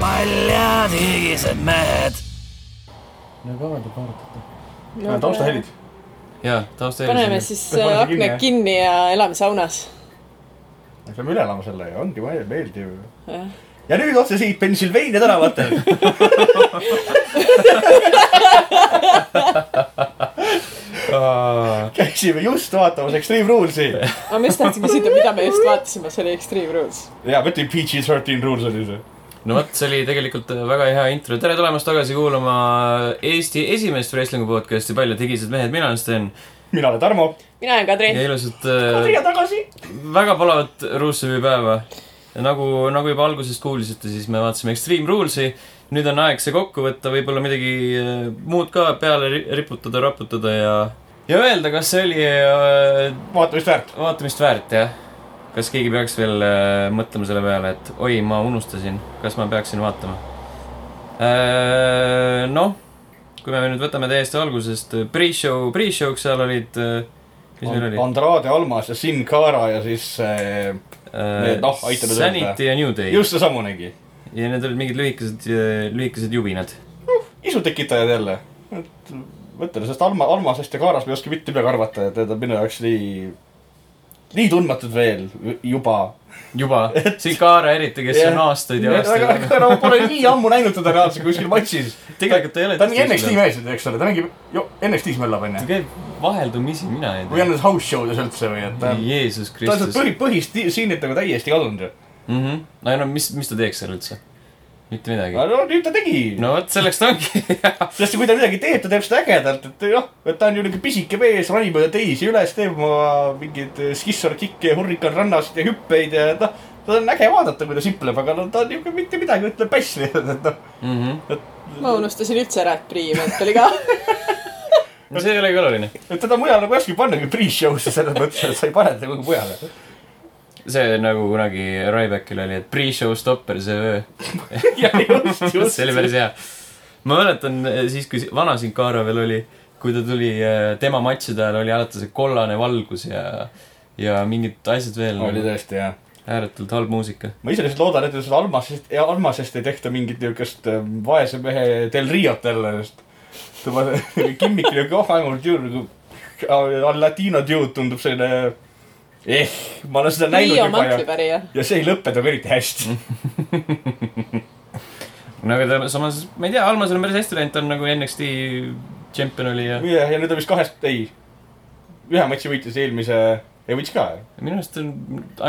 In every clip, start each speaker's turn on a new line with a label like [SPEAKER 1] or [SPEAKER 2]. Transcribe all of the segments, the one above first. [SPEAKER 1] paljad higised mehed .
[SPEAKER 2] no kaua te kaotate ?
[SPEAKER 3] taustahälid .
[SPEAKER 4] ja tausta .
[SPEAKER 5] paneme siis
[SPEAKER 3] Paneme
[SPEAKER 5] äh,
[SPEAKER 3] kinni,
[SPEAKER 5] aknad
[SPEAKER 3] jah.
[SPEAKER 5] kinni ja elame saunas .
[SPEAKER 3] Lähme üle elama selle ja ongi vaja meeldiv .
[SPEAKER 5] Jah.
[SPEAKER 3] ja nüüd otse siit Pennsylvania tänavatel . käisime just vaatamas Extreme Rules'i
[SPEAKER 5] aga ma just tahtsin küsida , mida me just vaatasime , see oli Extreme Rules .
[SPEAKER 3] ja ma ütlen PG-13 Rules oli see .
[SPEAKER 4] no vot , see oli tegelikult äh, väga hea intro . tere tulemast tagasi kuulama äh, Eesti esimest wrestling'u podcast'i Paljud higised mehed , mina olen Sten
[SPEAKER 3] mina olen Tarmo .
[SPEAKER 5] mina olen Kadri
[SPEAKER 4] ja . ilusat äh,
[SPEAKER 3] tagasi .
[SPEAKER 4] väga palavat Ruusevi päeva . nagu , nagu juba algusest kuulsite , siis me vaatasime Extreme Rules'i . nüüd on aeg see kokku võtta , võib-olla midagi äh, muud ka peale ri- riputada , raputada ja , ja öelda , kas see oli äh,
[SPEAKER 3] vaatamist väärt .
[SPEAKER 4] vaatamist väärt , jah . kas keegi peaks veel äh, mõtlema selle peale , et oi , ma unustasin , kas ma peaksin vaatama äh, ? noh , kui me nüüd võtame täiesti algusest , pre-show , pre-show'ks seal olid äh, , mis meil oli ?
[SPEAKER 3] Andrade Almas ja Sin Cara ja siis äh, Need, noh, aitame tõlda.
[SPEAKER 4] Sanity ja New Day Just.
[SPEAKER 3] just seesamunegi .
[SPEAKER 4] ja need olid mingid lühikesed , lühikesed jubinad .
[SPEAKER 3] isu tekitajad jälle . et mõtlen , sest Alma , Almasest ja Kaarast ma ei oska mitte midagi arvata ja need on minu jaoks nii , nii tundmatud veel juba .
[SPEAKER 4] juba , Sigara eriti , kes yeah. on aastaid ja aastaid .
[SPEAKER 3] aga no pole nii ammu näinud teda reaalselt kuskil matšis .
[SPEAKER 4] tegelikult ei ole .
[SPEAKER 3] ta on NXT . mees , eks ole , ta mängib ju- NXT-s möllab
[SPEAKER 4] ta
[SPEAKER 3] onju .
[SPEAKER 4] käib vaheldumisi , mina ei
[SPEAKER 3] või on
[SPEAKER 4] tea .
[SPEAKER 3] need house show des üldse või , et ta on ,
[SPEAKER 4] Jeesus
[SPEAKER 3] ta on sealt
[SPEAKER 4] Kristus .
[SPEAKER 3] põhi , põhistseenilt nagu täiesti kadunud ju .
[SPEAKER 4] mhmh , Mm-hmm. no no mis , mis ta teeks seal üldse ? mitte midagi .
[SPEAKER 3] no nüüd ta tegi no. .
[SPEAKER 4] no vot , selleks ta ongi hea .
[SPEAKER 3] sest kui ta midagi teeb , ta teeb seda ägedalt , et noh , et ta on ju niuke pisike mees , ronib mööda teisi üles , teeb oma mingeid eh, skissor-kikke ja hurrikan rannast ja hüppeid ja noh , ta on äge vaadata , kui ta sipleb , aga no ta on niuke mitte midagi , ütleb päss lihtsalt , et noh .
[SPEAKER 4] Mm-hmm.
[SPEAKER 5] ma unustasin üldse ära , et Priimelt oli ka .
[SPEAKER 4] no see ei olegi oluline .
[SPEAKER 3] et teda mujale nagu ei oskagi pannagi pre-show'sse selles mõttes , et sa ei pane teda kuhugi mujale .
[SPEAKER 4] see nagu kunagi Rybackil oli , et pre-show stopper see öö .
[SPEAKER 3] jah , just , just .
[SPEAKER 4] see oli päris hea . ma mäletan eh, siis , kui si- vana Sinkara veel oli , kui ta tuli , tema matšide ajal oli alati see kollane valgus ja , ja mingid asjad veel .
[SPEAKER 3] oli tõesti jah .
[SPEAKER 4] ääretult halb muusika .
[SPEAKER 3] ma ise lihtsalt loodan , et sellest Almasest , Almasest ei tehta mingit niukest äh, vaese mehe Del Riot jälle , sest tema kimmik oli ka ainult ju nagu a- a- latiino dude tundub selline . eh , ma olen seda näinud
[SPEAKER 5] Riio
[SPEAKER 3] juba ja ,
[SPEAKER 5] mantlipärija .
[SPEAKER 3] ja see ei lõpe nagu eriti
[SPEAKER 4] Mhm.
[SPEAKER 3] hästi .
[SPEAKER 4] no aga ta samas , ma ei tea , Almasel on päris hästi läinud , ta on nagu NXT tšempion oli ja
[SPEAKER 3] ja , ja nüüd on vist kahest , ei , ühe matši võitis eelmise , ei võitis ka .
[SPEAKER 4] minu arust ta on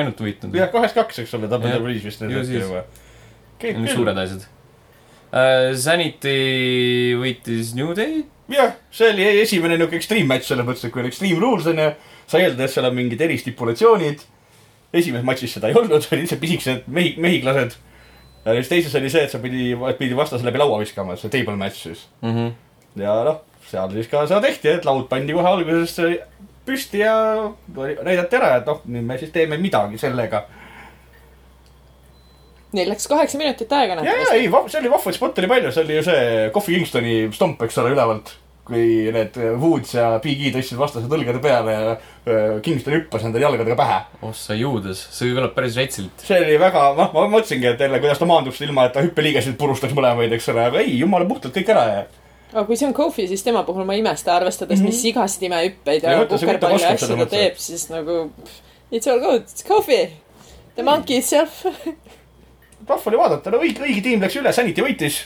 [SPEAKER 4] ainult võitnud .
[SPEAKER 3] jah , kahest kaks , eks ole ,
[SPEAKER 4] Mhm. Jah.
[SPEAKER 3] WWE's vist nüüd
[SPEAKER 4] Ju
[SPEAKER 3] äkki
[SPEAKER 4] siis.
[SPEAKER 3] juba .
[SPEAKER 4] Need on suured asjad uh, . Sanity võitis New Day .
[SPEAKER 3] jah , see oli esimene niuke extreme match selles mõttes , et kui on extreme rules onju , sa eeldad , et seal on mingid eristipulatsioonid . esimeses matšis seda ei olnud , olid lihtsalt pisikesed mehi , mehiklased . ja siis teises oli see , et sa pidi , pidi vastase läbi laua viskama , see table match siis .
[SPEAKER 4] Mm -hmm.
[SPEAKER 3] ja noh , seal siis ka seda tehti , et laud pandi kohe alguses püsti ja oli- näidati ära , et noh , nüüd me siis teeme midagi sellega .
[SPEAKER 5] Neil läks kaheksa minutit aega
[SPEAKER 3] ja , ja
[SPEAKER 5] natuke .
[SPEAKER 3] ei , see oli vahvaid spotte oli palju , see oli ju see Coffee Kingstoni stomp , eks ole , ülevalt . kui need äh, Woods ja PG tõstsid vastase tõlgede peale ja äh, Kingston hüppas nende jalgadega pähe .
[SPEAKER 4] ossa juudes , see kõlab päris retsilt .
[SPEAKER 3] see oli väga , noh , ma mõtlesingi , et jälle , kuidas ta maandub seda ilma , et ta hüppeliigesid purustaks mõlemaid , eks ole , aga ei , jumala puhtalt kõik ära ja .
[SPEAKER 5] aga kui see on Kofi , siis tema puhul ma ei imesta , arvestades , mis igasid imehüppeid ja
[SPEAKER 3] Mhm. Ei, mõtle, see
[SPEAKER 5] kukerpalli
[SPEAKER 3] võtab
[SPEAKER 5] ja
[SPEAKER 3] oskab
[SPEAKER 5] asju
[SPEAKER 3] seda
[SPEAKER 5] ta
[SPEAKER 3] mõtlesin.
[SPEAKER 5] teeb , siis nagu it's all good , it's Kofi . The monkey itself .
[SPEAKER 3] rahva oli vaadata , no õige , õige tiim läks üle , Sanity võitis .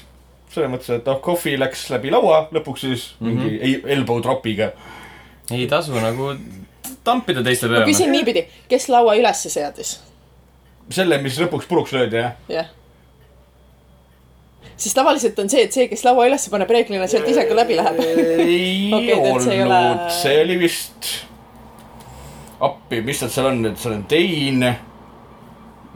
[SPEAKER 3] selles mõttes , et noh , Coffee läks läbi laua , lõpuks siis mingi mm -hmm. elbow dropiga .
[SPEAKER 4] ei tasu nagu tampida teiste
[SPEAKER 5] ma
[SPEAKER 4] peale .
[SPEAKER 5] küsin niipidi , kes laua ülesse seadis ?
[SPEAKER 3] selle , mis lõpuks puruks löödi , jah .
[SPEAKER 5] jah . siis tavaliselt on see , et see , kes laua üles paneb , reeglina sealt ise ka läbi läheb .
[SPEAKER 3] ei
[SPEAKER 5] Okei,
[SPEAKER 3] okay,
[SPEAKER 5] tead,
[SPEAKER 3] olnud
[SPEAKER 5] see ei , ole-
[SPEAKER 3] see oli vist , appi , mis tal seal on , et seal on teine ,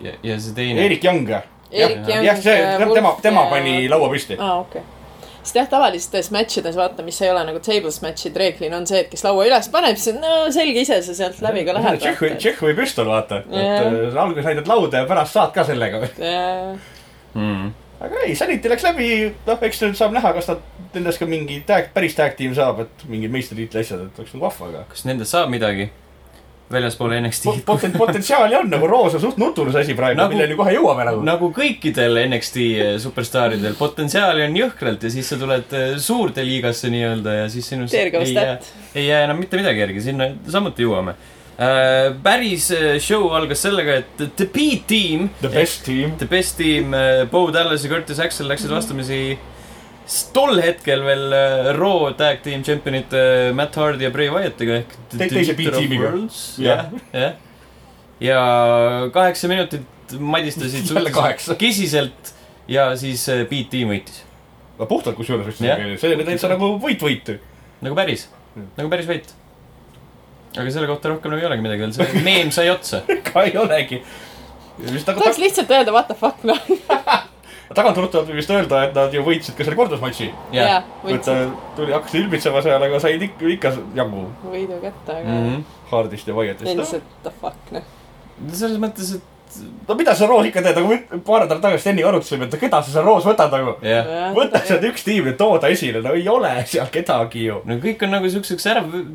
[SPEAKER 4] ja , ja see teine .
[SPEAKER 3] Erik Young .
[SPEAKER 5] Erik äh, Young .
[SPEAKER 3] jah , see , tema , tema pani laua püsti .
[SPEAKER 5] aa , okei okay. sest jah , tavalistes matšides vaata , mis ei ole nagu tables matšid reeglina on see , et kes laua üles paneb , siis on no selge ise , sa sealt läbi ka lähed .
[SPEAKER 3] Tšehh või , Tšehh või püstol , vaata . et
[SPEAKER 5] Jah.
[SPEAKER 3] äh, sa alguses näitad lauda ja pärast saad ka sellega .
[SPEAKER 5] jah ,
[SPEAKER 4] Mm.
[SPEAKER 3] aga ei , Sanity läks läbi , noh , eks nüüd saab näha , kas ta nendest ka mingi tag , päris tag tiim saab , et mingid meistritiitli asjad , et oleks nagu vahva , aga
[SPEAKER 4] kas nendest saab midagi ? väljaspool NXT-d .
[SPEAKER 3] potent- , potentsiaali on nagu Roos on suht nutune see asi praegu
[SPEAKER 4] Nagu-
[SPEAKER 3] nagu... , milleni kohe jõuame nagu no. .
[SPEAKER 4] nagu kõikidel NXT äh, superstaaridel , potentsiaali on jõhkralt ja siis sa tuled eh, suurde liigasse nii-öelda ja siis sinust ei
[SPEAKER 5] Tergavast
[SPEAKER 4] jää
[SPEAKER 5] tätt. ,
[SPEAKER 4] ei jää enam mitte midagi järgi , sinna samuti jõuame . päris eh, show algas sellega , et The B-tiim ,
[SPEAKER 3] The best team .
[SPEAKER 4] The Best Team , Bo Dallas ja Curtis Axel läksid
[SPEAKER 3] Mhm.
[SPEAKER 4] vastamisi s- tol hetkel veel eh, Raw Tag Team Championite eh, Matt Hardy ja Bray Wyattiga ehk
[SPEAKER 3] Te- teise
[SPEAKER 4] Defeater of
[SPEAKER 3] B-tiimiga.
[SPEAKER 4] Worlds. jah
[SPEAKER 3] Jah. ,
[SPEAKER 4] jah . ja kaheksa minutit madistasid
[SPEAKER 3] Jälle kaheksa.
[SPEAKER 4] kesiselt ja siis eh, B-tiim võitis .
[SPEAKER 3] no puhtalt kusjuures võiks
[SPEAKER 4] Jah.
[SPEAKER 3] yeah. , see oli täitsa nagu võit-võit .
[SPEAKER 4] nagu päris ,
[SPEAKER 3] Hmm.
[SPEAKER 4] nagu päris võit . aga selle kohta rohkem nagu ei olegi midagi veel , see meem sai otsa .
[SPEAKER 3] ka ei olegi . vist nagu
[SPEAKER 5] tahaks
[SPEAKER 3] tag-
[SPEAKER 5] lihtsalt öelda what the fuck noh .
[SPEAKER 3] taganturuttavalt võib vist öelda , et nad ju võitsid ka selle kordusmatši .
[SPEAKER 5] jaa ,
[SPEAKER 3] et ta
[SPEAKER 5] võitsin
[SPEAKER 3] tuli , hakkas ilmitsema seal , aga said ikka , ikka jagu
[SPEAKER 5] võidu kätte , aga mm -hmm.
[SPEAKER 4] Mhm.
[SPEAKER 3] Hardist ja Wyattist .
[SPEAKER 5] endiselt the fuck noh .
[SPEAKER 4] selles mõttes , et
[SPEAKER 3] no mida sa Roos ikka teed , nagu me paar nädalat tagasi Steniga arutasime , et keda sa seal Roos võtad nagu .
[SPEAKER 4] jah
[SPEAKER 3] võta sealt üks tiim ja too ta esile , no ei ole seal kedagi ju .
[SPEAKER 4] no kõik on nagu siukseks ära v-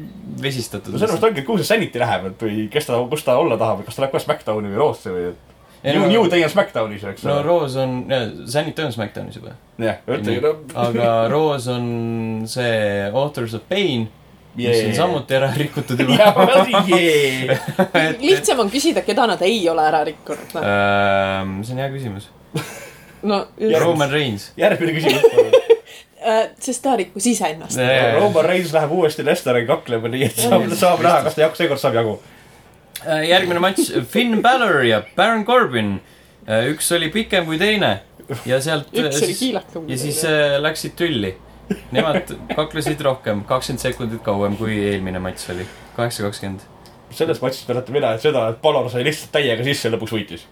[SPEAKER 4] vesistatud .
[SPEAKER 3] no sellepärast ongi , et kuhu see Sanity läheb , et või kes ta , kus ta olla tahab , kas ta läheb kohe SmackDowni või Raw'sse või .
[SPEAKER 4] Ei,
[SPEAKER 3] New
[SPEAKER 4] no- ,
[SPEAKER 3] New Day on SmackDownis , eks
[SPEAKER 4] no
[SPEAKER 3] ole .
[SPEAKER 4] Rose on , Sanity on SmackDownis juba .
[SPEAKER 3] jah , ütlegi noh .
[SPEAKER 4] aga Rose on see Authors of Pain , mis on samuti ära rikutud
[SPEAKER 3] jah ,
[SPEAKER 4] juba .
[SPEAKER 3] jee .
[SPEAKER 5] lihtsam on küsida , keda nad ei ole ära rikkunud noh .
[SPEAKER 4] Ehm, see on hea küsimus .
[SPEAKER 5] no ,
[SPEAKER 4] Roman Reins .
[SPEAKER 3] järgmine küsimus .
[SPEAKER 5] Äh, sest ta rikkus iseennast .
[SPEAKER 4] Ehm,
[SPEAKER 3] Roman Reins läheb uuesti Lesteriga kaklema , nii et saab , saab näha , kas ta jagu , seekord saab jagu .
[SPEAKER 4] äh, järgmine matš , Finn Balor ja Baron Corbin . üks oli pikem kui teine ja sealt .
[SPEAKER 5] üks oli kiilakam .
[SPEAKER 4] ja siis äh, läksid tülli . Nemad kaklesid rohkem , kakskümmend sekundit kauem kui eelmine matš oli , kaheksa kakskümmend .
[SPEAKER 3] selles matšis mäletan mina et seda , et Balor sai lihtsalt täiega sisse ja lõpuks võitis .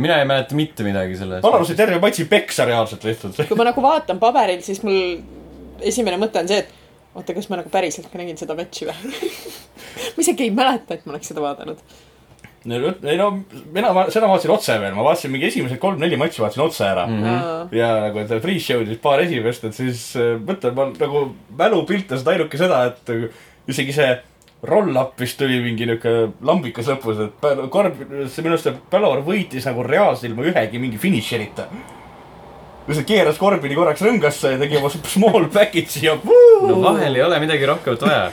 [SPEAKER 4] mina ei mäleta mitte midagi selle .
[SPEAKER 3] Balor sai terve matši peksa reaalselt lihtsalt .
[SPEAKER 5] kui ma
[SPEAKER 4] äh,
[SPEAKER 5] nagu vaatan paberil , siis mul esimene mõte on see , et oota , kas ma nagu päriselt ka nägin seda matši või ? ma isegi ei mäleta , et ma oleks seda vaadanud .
[SPEAKER 3] ei no mina va- seda vaatasin otse veel , ma vaatasin mingi esimesed kolm-neli matši vaatasin otse ära mm .
[SPEAKER 5] Mm.
[SPEAKER 3] ja nagu et pre-show'd siis paar esimest , et siis äh, mõtlen ma nagu mälupiltas ainuke seda , et äh, isegi see roll-up vist tuli mingi niuke lambikas lõpus , et Bal- korv , see minu arust see Balor võitis nagu reaalselt ilma ühegi mingi finišerita . lihtsalt keeras Korbini korraks rõngasse ja tegi oma small package'i ja vuu!
[SPEAKER 4] no vahel ei ole midagi rohkemat vaja .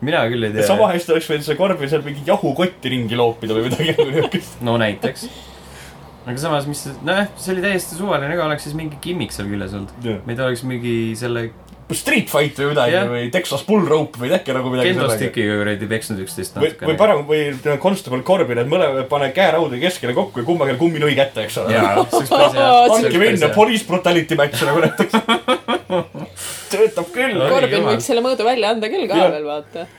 [SPEAKER 4] mina küll ei
[SPEAKER 3] et sama
[SPEAKER 4] tea .
[SPEAKER 3] hästi oleks võinud see Korbin seal mingit jahukotti ringi loopida või midagi nagu niukest .
[SPEAKER 4] no näiteks . aga samas , mis , nojah , see oli täiesti suvaline ka , oleks siis mingi gimmick seal küljes olnud .
[SPEAKER 3] Jah.
[SPEAKER 4] meil oleks mingi selle
[SPEAKER 3] Street Fight või midagi
[SPEAKER 4] Jah.
[SPEAKER 3] yeah. või Texas Bull Rope või äkki nagu midagi
[SPEAKER 4] kendostikiga kuradi peksnud üksteist
[SPEAKER 3] või , või . parem , või Constable Corbin , et mõlemad pane käeraudu keskele kokku ja kummalgi kummi lõi kätte , eks ole .
[SPEAKER 4] jaa , see oleks päris hea .
[SPEAKER 3] andke minna , police brutality match nagu näiteks . töötab küll .
[SPEAKER 4] Oi,
[SPEAKER 5] Korbin
[SPEAKER 4] jumal.
[SPEAKER 5] võiks selle mõõdu välja anda küll ka
[SPEAKER 3] Jah.
[SPEAKER 5] veel , vaata .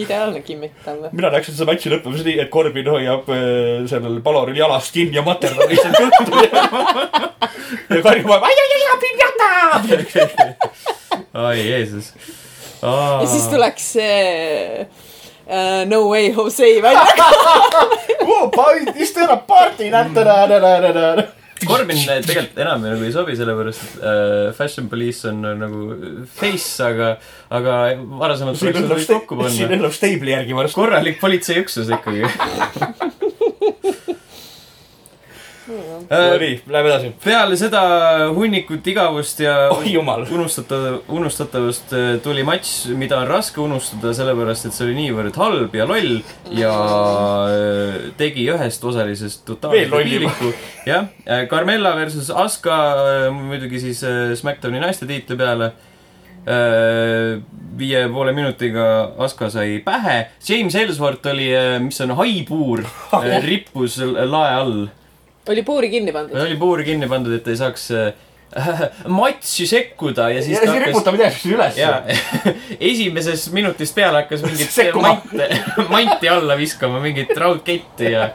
[SPEAKER 5] ideaalne gimmick talle .
[SPEAKER 3] mina näeksin seda matši lõppemas nii , et Corbin hoiab äh, sellel Baloril jalast kinni ja materdab lihtsalt juttu . ja Karin vajab ai-ai-ai , pinnata .
[SPEAKER 4] oi Jeesus .
[SPEAKER 5] ja siis tuleks see uh, No way Jose välja .
[SPEAKER 3] Is there a party ? jah ,
[SPEAKER 4] Corbin tegelikult enam nagu ei sobi , sellepärast et äh, Fashion Police on äh, nagu face , aga , aga varasemalt
[SPEAKER 3] siin
[SPEAKER 4] tuleks nad
[SPEAKER 3] elab
[SPEAKER 4] kõik kokku
[SPEAKER 3] sta- siin
[SPEAKER 4] panna .
[SPEAKER 3] elab Stable'i järgi varsti .
[SPEAKER 4] korralik politseiüksus ikkagi . Äh,
[SPEAKER 3] no nii , läheme edasi .
[SPEAKER 4] peale seda hunnikut igavust ja
[SPEAKER 3] oi jumal .
[SPEAKER 4] unustatav , unustatavust äh, tuli matš , mida on raske unustada , sellepärast et see oli niivõrd halb ja loll ja äh, tegi ühest osalisest
[SPEAKER 3] Veel
[SPEAKER 4] totaalselt
[SPEAKER 3] lollima.
[SPEAKER 4] piinliku . jah , Carmella versus Aska äh, muidugi siis äh, SmackDowni naiste tiitli peale . viie ja poole minutiga Aska sai pähe , James Ellsworth oli , mis on haipuur , rippus lae all
[SPEAKER 5] oli puuri kinni pandud .
[SPEAKER 4] tal oli puur kinni pandud , et ei saaks äh, matši sekkuda ja siis
[SPEAKER 3] ja siis riputab midagi üles .
[SPEAKER 4] ja esimesest minutist peale hakkas mingit
[SPEAKER 3] Sekkuma.
[SPEAKER 4] mante , manti alla viskama , mingit raudketti ja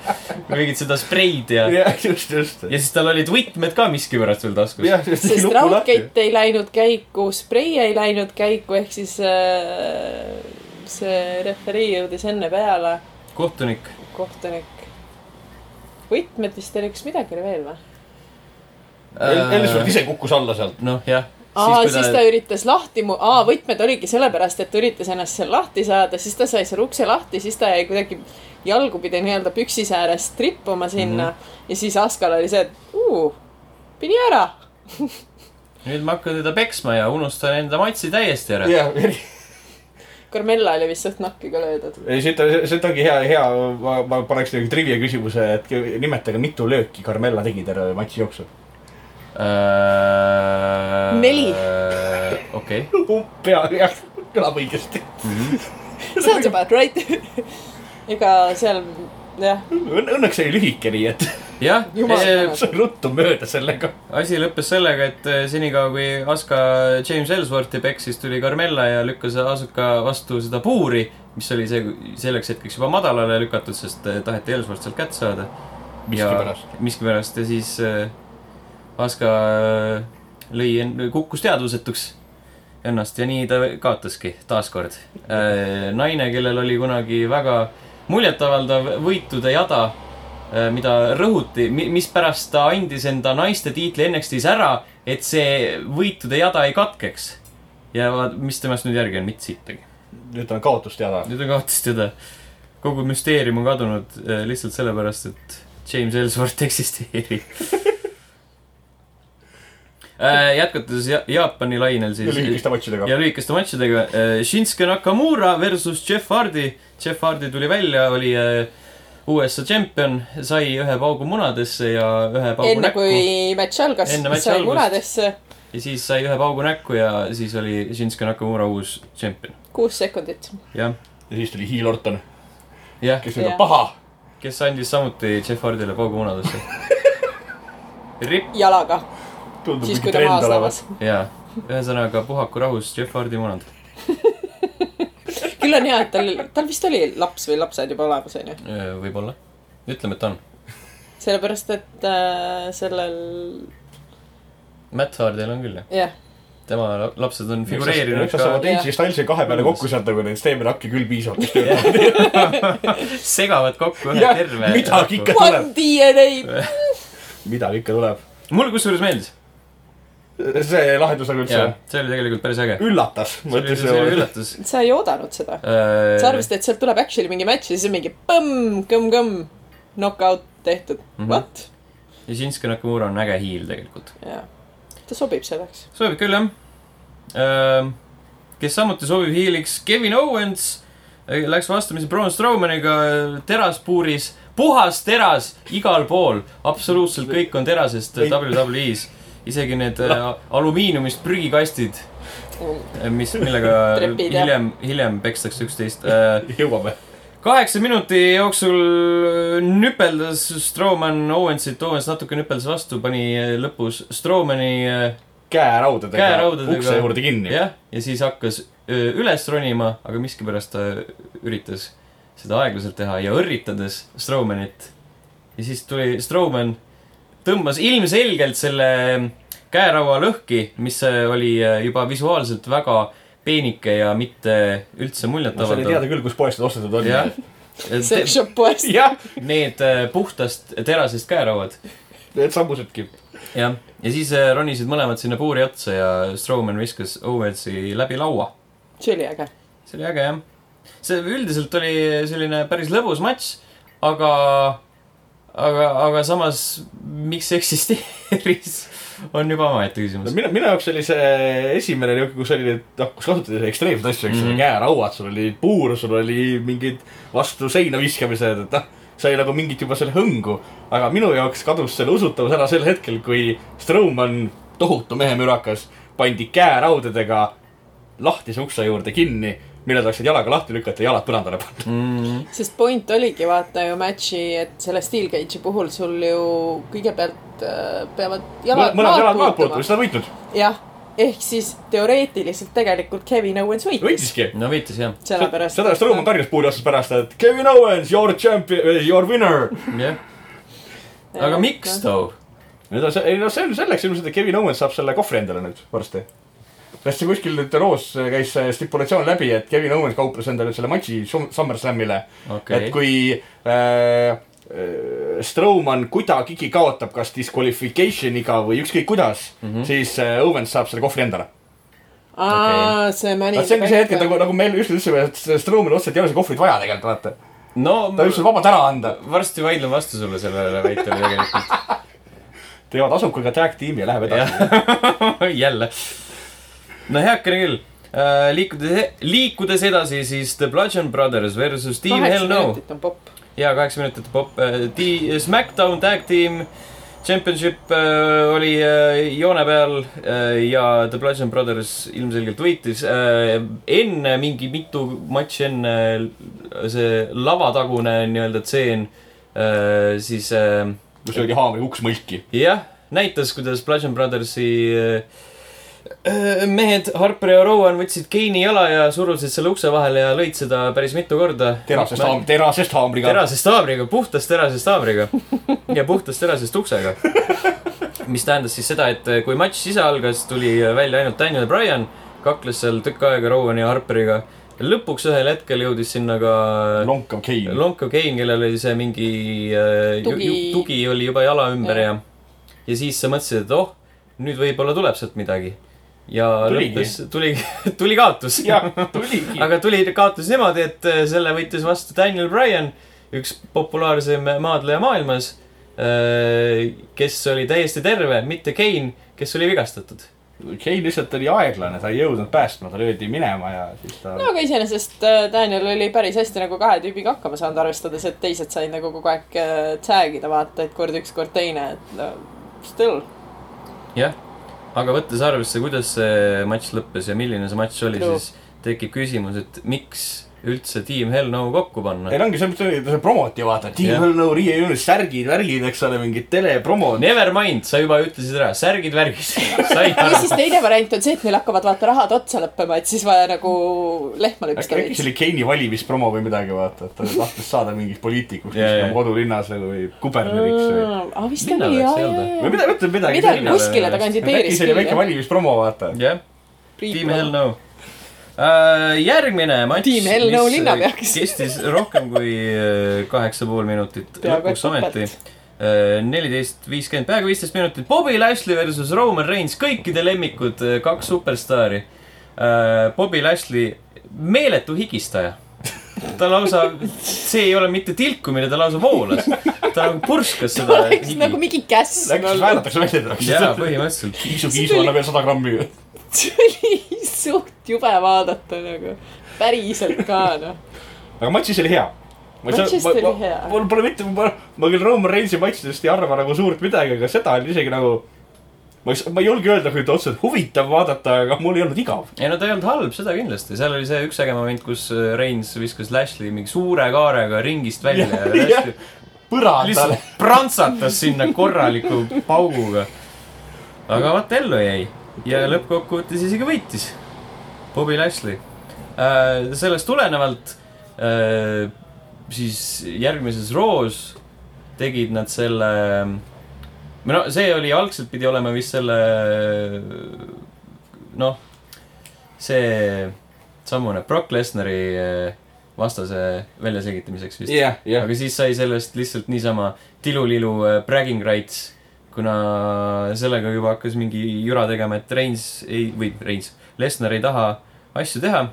[SPEAKER 4] mingit seda spreid ja , ja
[SPEAKER 3] jah , just , just .
[SPEAKER 4] siis tal olid võtmed ka miskipärast veel taskus .
[SPEAKER 3] jah , just .
[SPEAKER 5] sest raudkett ei läinud käiku , sprei ei läinud käiku , ehk siis äh, see referee jõudis enne peale ,
[SPEAKER 4] kohtunik ,
[SPEAKER 5] kohtunik . võtmed vist oli , kas midagi oli veel või ?
[SPEAKER 3] Äh. Ellisford ise kukkus alla sealt .
[SPEAKER 4] Äh, noh jah ,
[SPEAKER 5] aa ,
[SPEAKER 4] kui ta-
[SPEAKER 5] siis ta üritas lahti mu , aa , võtmed oligi sellepärast , et ta üritas ennast seal lahti saada , siis ta sai seal ukse lahti , siis ta jäi kuidagi jalgupidi nii-öelda püksisäärest trippuma sinna mm -hmm. ja siis Askal oli see , et uu , pidi ära .
[SPEAKER 4] nüüd ma hakkan teda peksma ja unustan enda matsi täiesti ära .
[SPEAKER 3] jah ,
[SPEAKER 5] Carmella oli vist suht nahki ka löödud .
[SPEAKER 3] ei siit , siit ongi hea , hea , ma , ma paneks teile trivia küsimuse , et kõ- nimetage , mitu lööki Carmella tegi terve matši jooksul .
[SPEAKER 5] Neli. .
[SPEAKER 4] Äh, okei ,
[SPEAKER 3] pea , jah , kõlab õigesti .
[SPEAKER 5] Sounds about right . ega seal jah ,
[SPEAKER 3] Õnneks oli lühike , nii et
[SPEAKER 4] jah ,
[SPEAKER 5] Jumal tänatud.
[SPEAKER 3] sai ruttu mööda sellega .
[SPEAKER 4] asi lõppes sellega , et eh, senikaua kui Aska James Ellsworthi peksis , tuli Carmella ja lükkas Asuka vastu seda puuri , mis oli see , selleks hetkeks juba madalale lükatud , sest eh, taheti Ellsworth sealt kätte saada .
[SPEAKER 3] miskipärast .
[SPEAKER 4] miskipärast ja siis äh, Aska äh, lõi , kukkus teadvusetuks ennast ja nii ta kaotaski taaskord äh, . naine , kellel oli kunagi väga muljetavaldav võitude jada äh, , mida rõhuti , mispärast ta andis enda naiste tiitli NXT-s ära , et see võitude jada ei katkeks . ja vaat- mis temast nüüd järgi on , mitte sittagi .
[SPEAKER 3] nüüd on kaotust jada .
[SPEAKER 4] nüüd on kaotas teda . kogu müsteerium on kadunud äh, lihtsalt sellepärast , et James Ellsworth eksisteerib äh, . jätkates ja Jaapani lainel
[SPEAKER 3] ja
[SPEAKER 4] siis
[SPEAKER 3] lühikeste matšidega .
[SPEAKER 4] ja lühikeste matšidega äh, . Shinsuke Nakamura versus Jeff Hardy . Jeff Hardy tuli välja , oli äh, USA tšempion , sai ühe paugu munadesse ja ühe paugu
[SPEAKER 5] enne
[SPEAKER 4] näkku kui...
[SPEAKER 5] kui matš algas
[SPEAKER 4] Enne , matši
[SPEAKER 5] sai
[SPEAKER 4] algust.
[SPEAKER 5] munadesse
[SPEAKER 4] ja siis sai ühe paugu näkku ja siis oli Shinsuke Nakamura uus tšempion .
[SPEAKER 5] kuus sekundit .
[SPEAKER 4] jah ,
[SPEAKER 3] ja siis tuli Hiil Orton ,
[SPEAKER 4] jah ,
[SPEAKER 3] kes nüüd
[SPEAKER 5] Jah.
[SPEAKER 3] on paha .
[SPEAKER 4] kes andis samuti Jeff Hardile paugu munadesse . Rip
[SPEAKER 5] jalaga ,
[SPEAKER 3] tundub
[SPEAKER 5] siis
[SPEAKER 3] mingi
[SPEAKER 5] kui ta
[SPEAKER 3] trend
[SPEAKER 5] maas
[SPEAKER 3] olevat
[SPEAKER 5] lavas ..
[SPEAKER 4] jaa , ühesõnaga puhaku rahus Jeff Hardi munad .
[SPEAKER 5] küll on hea , et tal , tal vist oli laps või lapsed juba olemas , onju .
[SPEAKER 4] võib-olla , ütleme , et on .
[SPEAKER 5] sellepärast , et äh, sellel ,
[SPEAKER 4] Matt Hardil on küll jah ,
[SPEAKER 5] jah ,
[SPEAKER 4] tema la- lapsed on figureerinud
[SPEAKER 3] üks osa
[SPEAKER 4] ka ,
[SPEAKER 3] Daisy Stylesi kahe peale kokku seada , kui neid steemirakki küll piisavalt ei tööta .
[SPEAKER 4] segavad kokku ühe
[SPEAKER 3] Jah,
[SPEAKER 4] terve .
[SPEAKER 3] midagi ikka.
[SPEAKER 5] one DNA .
[SPEAKER 3] midagi ikka tuleb .
[SPEAKER 4] mulle kusjuures meeldis .
[SPEAKER 3] see lahendus on üldse
[SPEAKER 4] jaa , see oli tegelikult päris äge .
[SPEAKER 3] üllatas .
[SPEAKER 4] see oli , see oli üllatus .
[SPEAKER 5] sa ei oodanud seda . sa arvasid , et sealt tuleb actually mingi match ja siis on mingi põmm , kõmm-kõmm , knock-out tehtud mm .
[SPEAKER 4] Mhm.
[SPEAKER 5] -hmm. What ?
[SPEAKER 4] ja Shinsuke Nakamura on äge hiil tegelikult .
[SPEAKER 5] jah , ta sobib selleks .
[SPEAKER 4] sobib küll jah . kes samuti sobib hiiliks , Kevin Owens äh, läks vastamisi Braun Strowmaniga äh, teraspuuris , puhas teras igal pool , absoluutselt kõik on terasest äh,
[SPEAKER 3] Ei.
[SPEAKER 4] WWE-s , isegi need äh, alumiiniumist prügikastid , mis , millega
[SPEAKER 5] Trepid, jah.
[SPEAKER 4] hiljem , hiljem pekstakse üksteist .
[SPEAKER 3] jõuame .
[SPEAKER 4] kaheksa minuti jooksul äh, nüpeldas Strowman Owensit , Owens natuke nüpeldas vastu , pani äh, lõpus Strowmani äh,
[SPEAKER 3] käeraudadega .
[SPEAKER 4] Käeraudadega.
[SPEAKER 3] ukse juurde kinni .
[SPEAKER 4] jah , ja siis hakkas öö, üles ronima , aga miskipärast ta üritas seda aeglaselt teha ja õrritades Strowmanit . ja siis tuli Strowman , tõmbas ilmselgelt selle käeraua lõhki , mis äh, oli juba visuaalselt väga peenike ja mitte
[SPEAKER 3] no
[SPEAKER 4] üldse
[SPEAKER 3] sa ei
[SPEAKER 4] muljetavaldav
[SPEAKER 3] teada . küll , kus poest need ostetud on .
[SPEAKER 4] jah ,
[SPEAKER 5] Sex shop poest .
[SPEAKER 3] jah ,
[SPEAKER 4] need öö, puhtast terasest käerauad .
[SPEAKER 3] need sammusedki .
[SPEAKER 4] jah , ja siis öö, ronisid mõlemad sinna puuri otsa ja Strowman viskas Owensi läbi laua
[SPEAKER 5] see oli äge .
[SPEAKER 4] see oli äge jah . see üldiselt oli selline päris lõbus matš , aga , aga , aga samas , miks see eksisteeris , on juba omaette
[SPEAKER 3] no
[SPEAKER 4] küsimus .
[SPEAKER 3] minu , minu jaoks oli see esimene niuke , kus oli need , noh , kus kasutati ekstreemseid asju , eks ole , käerauad , sul oli puur , sul oli mingid vastu seina viskamised , et noh , sai nagu mingit juba selle hõngu . aga minu jaoks kadus selle usutavus ära sel hetkel , kui Strowman , tohutu mehemürakas , pandi käeraudadega lahtise ukse juurde kinni , mille ta oleks saanud jalaga lahti lükata ja jalad põrandale panna .
[SPEAKER 5] sest point oligi vaata ju match'i , et selle Steel Cage'i puhul sul ju kõigepealt äh, peavad jalad
[SPEAKER 3] mõned jalad
[SPEAKER 5] maad
[SPEAKER 3] maad puutuma ,
[SPEAKER 5] puutuma .
[SPEAKER 3] siis ta on võitnud .
[SPEAKER 5] jah , ehk siis teoreetiliselt tegelikult Kevin Owens võitis .
[SPEAKER 3] võitiski .
[SPEAKER 4] no võitis jah ,
[SPEAKER 5] sellepärast .
[SPEAKER 3] seda Strowman karjus puuri otsas pärast , et Kevin Owens , your champion , your winner
[SPEAKER 4] jah . aga miks too ?
[SPEAKER 3] no ta , ei no see on selleks ilmselt , et Kevin Owens saab selle kohvri endale nüüd varsti . sest see kuskil nüüd Roos käis see stipulatsioon läbi , et Kevin Owens kauples endale selle matši Sum- SummerSlamile okay. .
[SPEAKER 4] okei
[SPEAKER 3] et , kui äh, äh, Strowman kuidagigi kaotab , kas disqualification'iga või ükskõik kuidas mm , -hmm. siis äh, Owens saab selle kohvri endale .
[SPEAKER 5] aa , see mäni .
[SPEAKER 3] vaat see ongi see hetk , et nagu , nagu me just ütlesime , et Strowmanil otseselt ei ole seda kohvrit vaja tegelikult , vaata .
[SPEAKER 4] no
[SPEAKER 3] ta võib selle vabalt ära anda .
[SPEAKER 4] varsti vaidlen vastu sulle sellele väitele tegelikult .
[SPEAKER 3] teevad asukaga tag tiimi ja läheb edasi .
[SPEAKER 4] jah , jälle . no heakene küll . liikudes , liikudes edasi , siis The Bludgeon Brothers versus Team Hell No .
[SPEAKER 5] on popp .
[SPEAKER 4] ja kaheksa minutit pop . SmackDown Tag Team Championship äh, oli äh, joone peal äh, ja The Bludgeon Brothers ilmselgelt võitis äh, . enne mingi mitu matši enne äh, see lavatagune nii-öelda tseen äh, siis äh,
[SPEAKER 3] kus löödi haamri uks mõlki .
[SPEAKER 4] jah , näitas , kuidas Bludgeon Brothersi äh, mehed Harper ja Rowan võtsid Keini jala ja surusid selle ukse vahele ja lõid seda päris mitu korda .
[SPEAKER 3] terasest haam- , terasest haamriga .
[SPEAKER 4] terasest haabriga , puhtast terasest haabriga ja puhtast terasest uksega . mis tähendas siis seda , et kui matš ise algas , tuli välja ainult Daniel Bryan , kakles seal tükk aega Rowan ja Harperiga . lõpuks ühel hetkel jõudis sinna ka
[SPEAKER 3] lonkav Kane .
[SPEAKER 4] Lonko Kane , kellel oli see mingi äh, ju-
[SPEAKER 5] Tugi.
[SPEAKER 4] ju- tugi oli juba jala ümber ja
[SPEAKER 5] Jah. ,
[SPEAKER 4] ja siis sa mõtlesid , et oh , nüüd võib-olla tuleb sealt midagi . ja
[SPEAKER 3] Tuligi.
[SPEAKER 4] lõppes , tuli , tuli kaotus
[SPEAKER 3] jah , tuligi .
[SPEAKER 4] aga tuli , kaotas niimoodi , et äh, selle võitis vastu Daniel Bryan , üks populaarsem maadleja maailmas , kes oli täiesti terve , mitte Kane , kes oli vigastatud .
[SPEAKER 3] Kane lihtsalt oli aeglane , ta ei jõudnud päästma , ta löödi minema ja siis ta
[SPEAKER 5] no aga iseenesest äh, Daniel oli päris hästi nagu kahe tüübiga hakkama saanud , arvestades , et teised said nagu kogu aeg äh, tag'ida , vaata , et kord üks , kord teine , et no still .
[SPEAKER 4] jah , aga võttes arvesse , kuidas see matš lõppes ja milline see matš oli ,
[SPEAKER 5] True.
[SPEAKER 4] siis tekib küsimus , et miks üldse tiim Hell No kokku panna
[SPEAKER 3] ei . no ongi see , mis oli , see promoti vaata , Team
[SPEAKER 4] Jah.
[SPEAKER 3] Hell No Riie Jünis , särgid , värgid , eks ole , mingid telepromod .
[SPEAKER 4] Nevermind , sa juba ütlesid ära , särgid värgis . sai
[SPEAKER 5] ja
[SPEAKER 4] ära .
[SPEAKER 5] siis teine variant on see , et meil hakkavad vaata rahad otsa lõppema , et siis vaja nagu lehma lüpsta
[SPEAKER 3] äkki , äkki
[SPEAKER 5] veits
[SPEAKER 3] see . oli Keini valimispromo või midagi vaata , et ta tahtis saada mingiks poliitikuks ,
[SPEAKER 4] Jaa,
[SPEAKER 3] kes
[SPEAKER 4] jaa.
[SPEAKER 3] on kodurinnaks nagu või kuberneriks või .
[SPEAKER 5] aa , vist
[SPEAKER 4] Linna
[SPEAKER 5] oli
[SPEAKER 4] läks,
[SPEAKER 5] jaa ,
[SPEAKER 4] ei
[SPEAKER 5] jaa
[SPEAKER 4] olnud ,
[SPEAKER 3] või
[SPEAKER 5] jaa .
[SPEAKER 3] mida , ütleb midagi
[SPEAKER 5] midagi
[SPEAKER 4] linna-
[SPEAKER 3] sellist .
[SPEAKER 5] kuskile ta
[SPEAKER 3] äkki
[SPEAKER 5] kandideeris
[SPEAKER 3] see oli väike valimispromo , vaata .
[SPEAKER 4] jah tiim Hell . No . järgmine matš .
[SPEAKER 5] Tiim Hell No linnapeaks.
[SPEAKER 4] kestis rohkem kui äh, kaheksa pool minutit ,
[SPEAKER 5] Peaaegu
[SPEAKER 4] lõpuks
[SPEAKER 5] et
[SPEAKER 4] ometi Äh,
[SPEAKER 5] topelt. .
[SPEAKER 4] neliteist , viiskümmend , peaaegu viisteist minutit . Bobby Lashley versus Roman Reins , kõikide lemmikud , kaks superstaari . Bobby Lashley , meeletu higistaja . ta lausa , see ei ole mitte tilkumine , ta lausa voolas . ta nagu purskas seda
[SPEAKER 5] oleks
[SPEAKER 4] higi.
[SPEAKER 5] nagu mingi käss .
[SPEAKER 3] Äkki siis väänatakse välja
[SPEAKER 4] jaa ,
[SPEAKER 3] tuleks .
[SPEAKER 4] põhimõtteliselt .
[SPEAKER 3] kiisu , kiisu annab veel sada grammi .
[SPEAKER 5] see oli suht jube vaadata nagu , päriselt ka noh .
[SPEAKER 3] aga matšis oli hea .
[SPEAKER 5] Matšist oli hea.
[SPEAKER 3] mul pole mitte , ma küll Roman Reinsi matšidest ei arva nagu suurt midagi , aga seda oli isegi nagu , ma ei , ma ei julge öelda , kui ta otseselt huvitav vaadata , aga mul ei olnud igav .
[SPEAKER 4] ei no ta ei olnud halb , seda kindlasti , seal oli see üks äge moment , kus äh, Reins viskas Lashley mingi suure kaarega ringist välja ja,
[SPEAKER 3] Jah,
[SPEAKER 4] ja Lashley
[SPEAKER 3] põrand tal
[SPEAKER 4] lihtsalt prantsatas sinna korraliku pauguga . aga vaata ellu jäi ja lõppkokkuvõttes isegi võitis Bobby Lashley äh, . sellest tulenevalt äh, siis järgmises Raws tegid nad selle , või no see oli algselt pidi olema vist selle noh , see sammune Brock Lesnari äh, vastase väljaselgitamiseks vist .
[SPEAKER 3] jah , jah .
[SPEAKER 4] aga siis sai sellest lihtsalt niisama tilulilu äh, bragging rights , kuna sellega juba hakkas mingi jura tegema , et Reins ei , või Reins , Lesnar ei taha asju teha .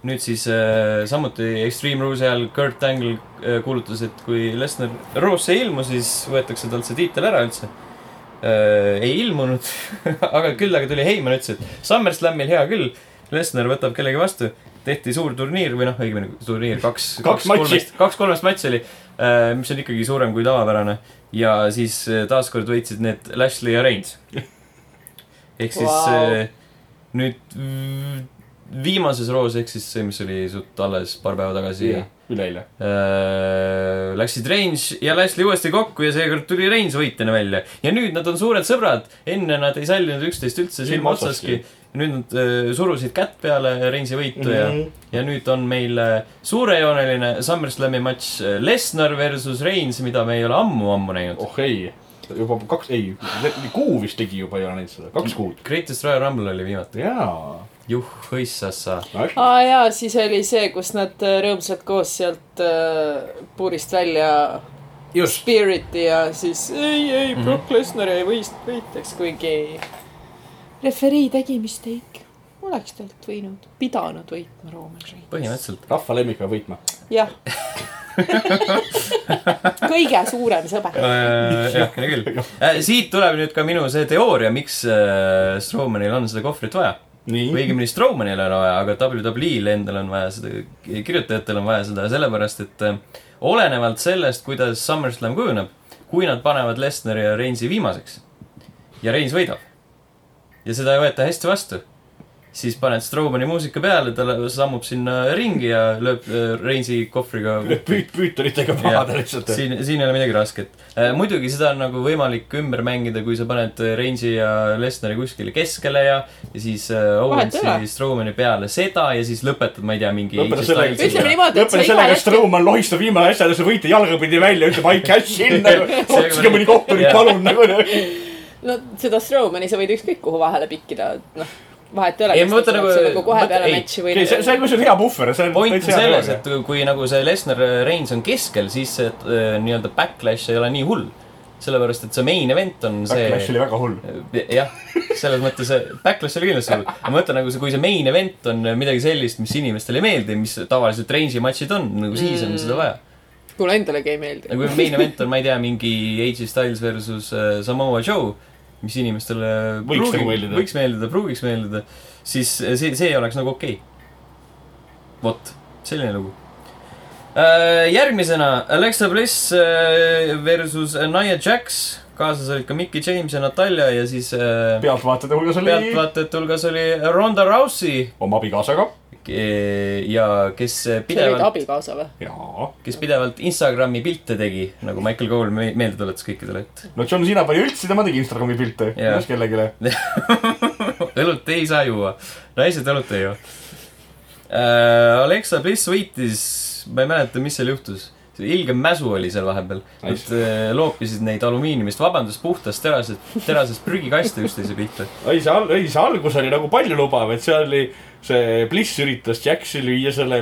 [SPEAKER 4] nüüd siis äh, samuti Extreme Rules'i ajal Kurt Angle äh, kuulutas , et kui Lesnar Raw'sse ei ilmu , siis võetakse talt see tiitel ära üldse . Äh, ei ilmunud , aga küll , aga tuli Heimann ütles , et SummerSlamil hea küll , Lesnar võtab kellegi vastu , tehti suur turniir või noh , õigemini turniir kaks ,
[SPEAKER 3] Kaks matši.
[SPEAKER 4] kolmest , kaks kolmest matši oli , mis on ikkagi suurem kui tavapärane ja siis äh, taaskord võitsid need Lashley ja Reins . ehk siis äh,
[SPEAKER 5] Vau.
[SPEAKER 4] wow. nüüd v- viimases roos ehk siis see , mis oli suht alles paar päeva tagasi yeah. ,
[SPEAKER 3] üleeile .
[SPEAKER 4] läksid Reins ja Lashley uuesti kokku ja seekord tuli Reins võitjana välja . ja nüüd nad on suured sõbrad , enne nad ei sallinud üksteist üldse silma
[SPEAKER 3] Silma
[SPEAKER 4] otsaski
[SPEAKER 3] otsaski. .
[SPEAKER 4] nüüd nad öö, surusid kätt peale Reinsi võitu mm -hmm. ja , ja nüüd on meil äh, suurejooneline SummerSlami matš äh, Lesnar versus Reins , mida me ei ole ammu-ammu näinud oh. .
[SPEAKER 3] oh ei , juba kaks , ei , kuu vist tegi juba ei ole näinud seda , kaks kuud .
[SPEAKER 4] Greatest Royal Rumble oli viimati .
[SPEAKER 3] jaa .
[SPEAKER 4] juh , õissassa .
[SPEAKER 5] aa jaa , siis oli see , kus nad äh, rõõmsalt koos sealt äh, puurist välja
[SPEAKER 3] just ,
[SPEAKER 5] Spiriti ja siis ei , ei , Brock Lesnar ei võist- , võiteks , kuigi referii tegi mistake . oleks talt võinud , pidanud võitma Roman Rein .
[SPEAKER 4] põhimõtteliselt .
[SPEAKER 3] rahva lemmik peab võitma .
[SPEAKER 5] jah . kõige suurem sõber .
[SPEAKER 4] Äh, jah , küll . siit tuleb nüüd ka minu see teooria , miks äh, Strowmanil on seda kohvrit vaja . või
[SPEAKER 3] nii ,
[SPEAKER 4] õigemini Strowmanil on vaja , aga WWE-l endal on vaja seda , kirjutajatel on vaja seda sellepärast , et äh, olenevalt sellest , kuidas SummerSlam kujuneb , kui nad panevad Lesnari ja Reinsi viimaseks ja Reins võidab ja seda ei võeta hästi vastu , siis paned Strowmani muusika peale , ta lö- sammub sinna ringi ja lööb äh, Reinsi kohvriga
[SPEAKER 3] püüd , püüturitega pahada lihtsalt .
[SPEAKER 4] siin , siin ei ole midagi rasket . muidugi seda on nagu võimalik ümber mängida , kui sa paned Range'i ja Lesnari kuskile keskele ja , ja siis äh,
[SPEAKER 5] Vahet ei
[SPEAKER 4] Owensi
[SPEAKER 5] ole. ,
[SPEAKER 4] Strowmani peale seda ja siis lõpetad , ma ei tea , mingi .
[SPEAKER 3] lõpeta sellega ,
[SPEAKER 5] Ütleme niimoodi, et sa
[SPEAKER 3] lõpeta
[SPEAKER 5] iga
[SPEAKER 3] sellega , et
[SPEAKER 5] hetk-
[SPEAKER 3] Strowman lohistab viimane asja , sa võite jalgapidi välja , ütleb I cash in nagu , otsige mõni kohtunik ,
[SPEAKER 4] Jah.
[SPEAKER 3] palun nagu .
[SPEAKER 5] no seda Strowmani sa võid ükskõik kuhu vahele pikkida , et noh , vahet ei ole .
[SPEAKER 4] Ei, ma mõtlen nagu-
[SPEAKER 5] nagu kohe
[SPEAKER 4] mõtlen-
[SPEAKER 5] peale
[SPEAKER 4] ei,
[SPEAKER 5] matši või
[SPEAKER 3] see , see on kusjuures hea puhver , see on
[SPEAKER 4] point on selles , et kui nagu see Lesnar ja Reins on keskel , siis see äh, nii-öelda backlash ei ole nii hull . sellepärast , et see main event on
[SPEAKER 3] Backlash
[SPEAKER 4] see .
[SPEAKER 3] oli väga hull .
[SPEAKER 4] jah , selles mõttes see backlash oli kindlasti hull , aga ma mõtlen nagu see , kui see main event on äh, midagi sellist , mis inimestele ei meeldi , mis tavaliselt Range'i matšid on , nagu siis on seda vaja .
[SPEAKER 5] mulle endalegi ei meeldi .
[SPEAKER 4] nagu main event on , ma ei tea , mingi AJ Styles versus äh, Samoa Joe , mis inimestele
[SPEAKER 3] Võiks nagu meeldida.
[SPEAKER 4] võiks meeldida , pruugiks meeldida , siis see , see oleks nagu okei okay. . vot , selline lugu . järgmisena Alexa Bliss äh, versus Nia Jax , kaasas olid ka Mickey James ja Natalja ja siis äh,
[SPEAKER 3] pealtvaatajate hulgas oli
[SPEAKER 4] pealtvaatajate hulgas oli Ronda Rousey
[SPEAKER 3] oma abikaasaga .
[SPEAKER 4] eh, ja kes
[SPEAKER 5] sa olid
[SPEAKER 4] pidevalt ,
[SPEAKER 5] abikaasa või ?
[SPEAKER 3] jaa .
[SPEAKER 4] kes pidevalt Instagrami pilte tegi , nagu Michael Cole me- meelde tuletas kõikidele , et
[SPEAKER 3] no John Cena pani üldse , tema tegi Instagrami pilte .
[SPEAKER 4] Jaa.
[SPEAKER 3] kuidas kellelegi .
[SPEAKER 4] õlut ei saa juua , naised õlut ei joo äh, . Alexa Bliss võitis , ma ei mäleta , mis seal juhtus , see ilge mäsu oli seal vahepeal , et
[SPEAKER 3] Nice.
[SPEAKER 4] äh, loopisid neid alumiiniumist , vabandust , puhtast terasest , terasest prügikaste üksteise pihta .
[SPEAKER 3] ei , see , ei see algus oli nagu paljulubav , et seal oli , see Bliss üritas Jaxi lüüa selle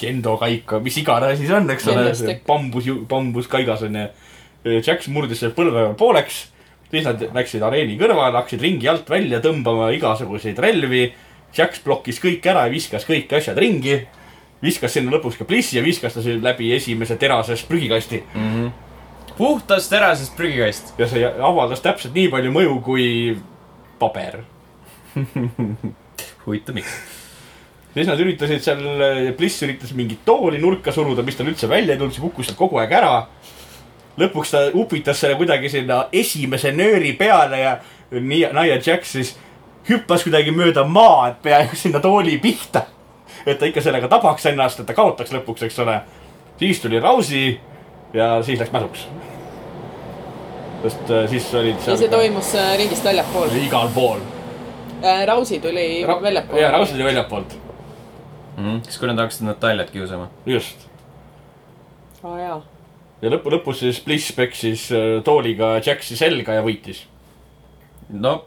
[SPEAKER 3] kendo kaika , mis iganes asi see on , eks ole , see
[SPEAKER 5] Kendostek.
[SPEAKER 3] bambus , bambus kaigas onju . Jax murdis selle põlve pooleks , siis nad läksid areeni kõrvale , hakkasid ringi alt välja tõmbama igasuguseid relvi . Jax blokkis kõik ära ja viskas kõik asjad ringi . viskas sinna lõpuks ka Blissi ja viskas ta siin läbi esimese terasest prügikasti
[SPEAKER 4] puhtast terasest prügikast .
[SPEAKER 3] ja see avaldas täpselt nii palju mõju kui paber
[SPEAKER 4] huvitav , miks ?
[SPEAKER 3] siis nad üritasid seal , Bliss üritas mingit tooli nurka suruda , mis tal üldse välja ei tulnud , see kukkus sealt kogu aeg ära . lõpuks ta upitas selle kuidagi sinna esimese nööri peale ja nii Nia Jax siis hüppas kuidagi mööda maad peaaegu sinna tooli pihta . et ta ikka sellega tabaks ennast , et ta kaotaks lõpuks , eks ole . siis tuli Rausi ja siis läks mäluks . sest äh, siis olid
[SPEAKER 5] ja
[SPEAKER 3] seal
[SPEAKER 5] see toimus äh, ringist väljapool .
[SPEAKER 3] igal pool .
[SPEAKER 5] Rausi tuli väljapool .
[SPEAKER 3] jaa , Rausi tuli väljapoolt ,
[SPEAKER 4] siis kui nad hakkasid Nataljat kiusama .
[SPEAKER 3] just
[SPEAKER 5] aa Ah, jaa .
[SPEAKER 3] ja lõpu , lõpus siis Bliss peksis äh, tooliga Jaxi selga ja võitis .
[SPEAKER 4] no